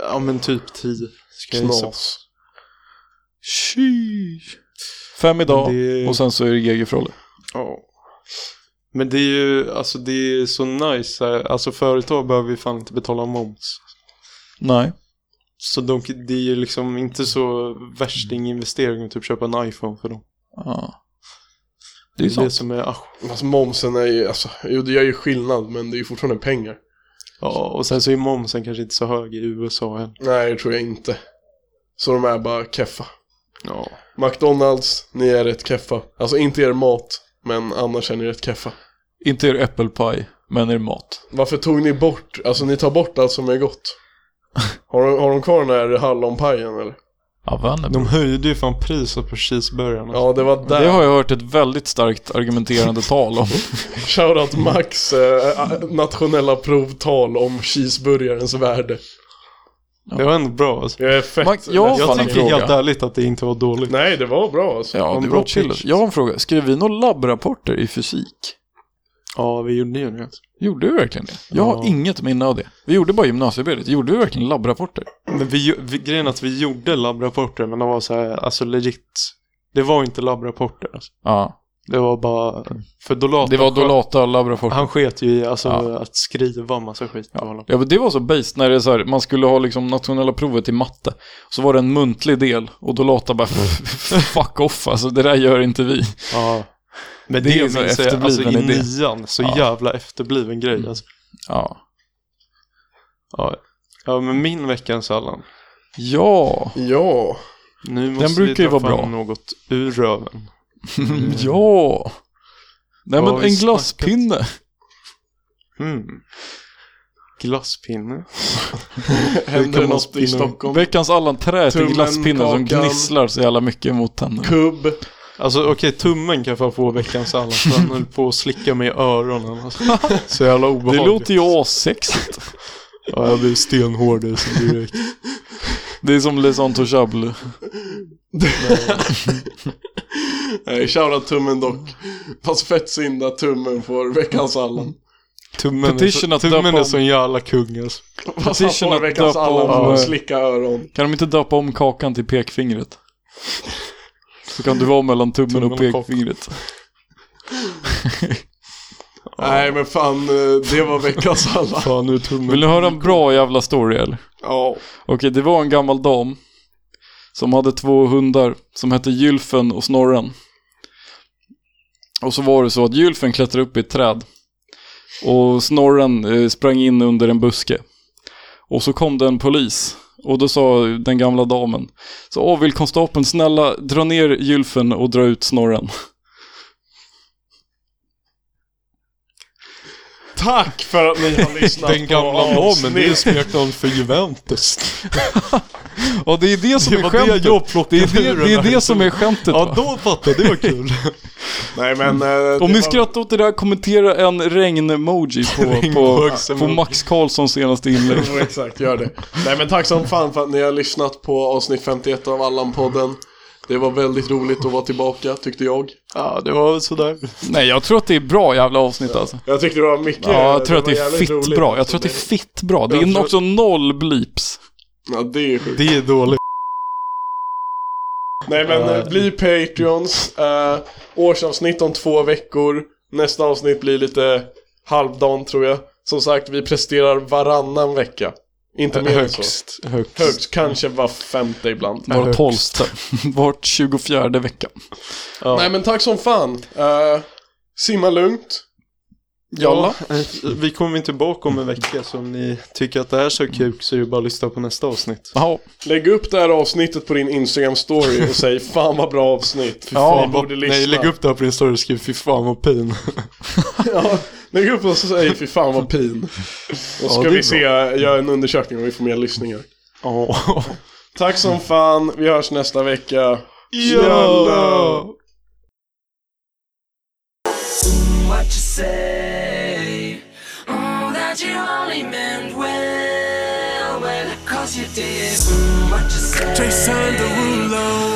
Ja, men typ 10. Ska jag
veckan?
gissa på.
Knas.
Sheesh. Fem idag
Men det-
och sen så är det GG Frolle.
Ja. Men det är ju, alltså det är så nice. här. Alltså företag behöver ju fan inte betala moms.
Nej.
Så de, det är ju liksom inte så värstinginvestering att typ köpa en iPhone för dem.
Ja. Det är
Det är det
sant.
som är, ah,
Alltså momsen är ju, alltså, jo det gör ju skillnad men det är ju fortfarande pengar.
ja, och sen så är momsen kanske inte så hög i USA än.
Nej, det tror jag inte. Så de är bara keffa.
Ja.
McDonalds, ni är rätt keffa. Alltså inte er mat, men annars är ni rätt keffa.
Inte er äppelpaj, men er mat.
Varför tog ni bort, alltså ni tar bort allt som är
[LAUGHS]
gott. Har de, har de kvar den här hallonpajen eller?
Ja, vänner.
De höjde ju fan priset på cheeseburgarna.
Ja, det var där.
Det har jag hört ett väldigt starkt argumenterande
[LAUGHS]
tal om.
Shoutout Max eh, eh, nationella provtal om cheeseburgarens värde.
Det var ändå bra alltså.
Jag är fett
Man- jag
ledsen.
Fan,
Jag
en
tycker
fråga.
helt ärligt att det inte var dåligt.
Nej, det var bra alltså.
Ja,
Om
det
bra
var chill.
pitch.
Jag har en fråga. Skrev vi några labbrapporter i fysik?
Ja, vi gjorde ju det.
Gjorde vi verkligen det? Jag har
Ja.
inget minne av det. Vi gjorde bara gymnasiearbetet. Gjorde vi verkligen labbrapporter?
Men vi, ju- vi, grejen är att vi gjorde labbrapporter, men de var så här, alltså legit. Det var inte labbrapporter. Alltså.
Ja.
Det var bara, för Dolata,
Det var
sköt-
Dolata labbrapporter.
han sket ju i alltså,
Ja.
att skriva massa skit. och hålla på.
Ja, men det var så based när det är så här, man skulle ha liksom nationella provet i matte. Så var det en muntlig del och då låta bara [LAUGHS] fuck off alltså, det där gör inte vi.
Ja. Men
Det
det,
är
minns
så
jag, alltså, i
efterbliven idé.
nian, så
Ja. Mm.
jävla efterbliven grej. Alltså.
Ja.
Ja. ja, men min veckans Allan.
Ja. [LAUGHS]
Ja,
Nu måste
brukar ju
vi ta
vara
fram
bra.
något ur röven.
ja. Nej men
Vad har vi
en
snackat?
glasspinne.
Mm. Glasspinne.
hände det
man
något i
spinna upp?
Stockholm?
Veckans Allan trä till
Tummen,
glasspinnen som
kakan.
gnisslar så jävla mycket mot tänderna.
Kubb.
Alltså okej, tummen kan fan få veckans Allan. för
[LAUGHS]
Han höll på att slicka mig i öronen. Alltså. Så jävla
Det
obehagligt.
låter ju assexigt.
Ja, jag blev stenhård alltså, direkt.
Det är som Les Intouchables.
[LAUGHS] Nej, shoutout tummen dock. Fast fett synd att tummen får veckans Allan.
Tummen, är
Petition
så,
att
tummen
döpa
är
om-
så jävla kung alltså.
Fast han
Petition
får
att
veckans
döpa
Allan
om,
för
eh,
att slicka öron.
Kan de inte döpa om kakan till pekfingret? Så kan du vara mellan tummen och
Tummen och
pekfingret.
Nej men fan, eh, det var
[LAUGHS]
veckans Allan.
Fan nu är tummen...
Vill ni höra en bra jävla story eller?
Ja.
Okej, det var en gammal dam som hade två hundar som hette Gylfen och Snorren. Och så var det så att Gylfen klättrade upp i ett träd och Snorren eh, sprang in under en buske. Och så kom det en polis och då sa den gamla damen så åh, vill konstapeln snälla dra ner Gylfen och dra ut Snorren.
Tack för att ni har lyssnat
Den gamla
på
damen, det är ju
avsnitt.
smeknamn för Juventus.
Ja, det är det som
Det
är
var det
skämtet.
jag plockade
det, är det,
ur den
det, är
här
det som är skämtet
Ja,
va?
då fattar jag. Det var [LAUGHS] kul.
Nej men... eh,
Om
det
ni
var-
skrattar åt det där, kommentera en regn-emoji [LAUGHS] på, på,
Regnbågs-emoji.
på Max Karlssons senaste inlägg.
Jo, [LAUGHS] exakt, gör det. Nej men tack som fan för att ni har lyssnat på avsnitt 51 av Allan-podden. Det var väldigt roligt att vara tillbaka, tyckte jag.
Ja, det var väl sådär.
[LAUGHS] Nej, jag tror att det är bra jävla avsnitt alltså.
Jag tyckte det var mycket...
Ja, jag tror att
var
det är
jävligt
fitt
roligt,
bra. Jag
alltså.
tror att det är fitt bra. Det
Jag
är
tror-
också noll blips.
Ja, det är sjukt.
Det är dåligt.
Nej men eh, bli Patreons. Eh, årsavsnitt om två veckor. Nästa avsnitt blir lite halvdan tror jag. Som sagt, vi presterar varannan vecka. Inte mer än så.
Högst. Högst.
Högst, kanske var femte ibland.
Var
högst.
tolfte. [LAUGHS] Vart tjugofjärde vecka.
Nej men tack som fan. Eh, simma lugnt.
Jalla.
Ja, eh, vi kommer inte tillbaka om en vecka så om ni tycker att det här ser kul så är det bara att lyssna på nästa avsnitt.
Ja,
Lägg upp det här avsnittet på din Instagram-story och
[LAUGHS]
säg fan vad bra avsnitt.
Ja,
ni
vad-
borde lyssna.
nej, lägg upp det här på din story och skriv fy fan vad pin.
[LAUGHS] ja, lägg upp och så säg fy fan vad pin.
[LAUGHS]
Och ska
det är
vi se, göra en undersökning om vi får mer lyssningar.
[LAUGHS] Oh.
Tack som fan, vi hörs nästa vecka.
Jalla!
what you say. Mm, that you only meant well, well, cause you did. Mm, what you say.
Jason Derulo.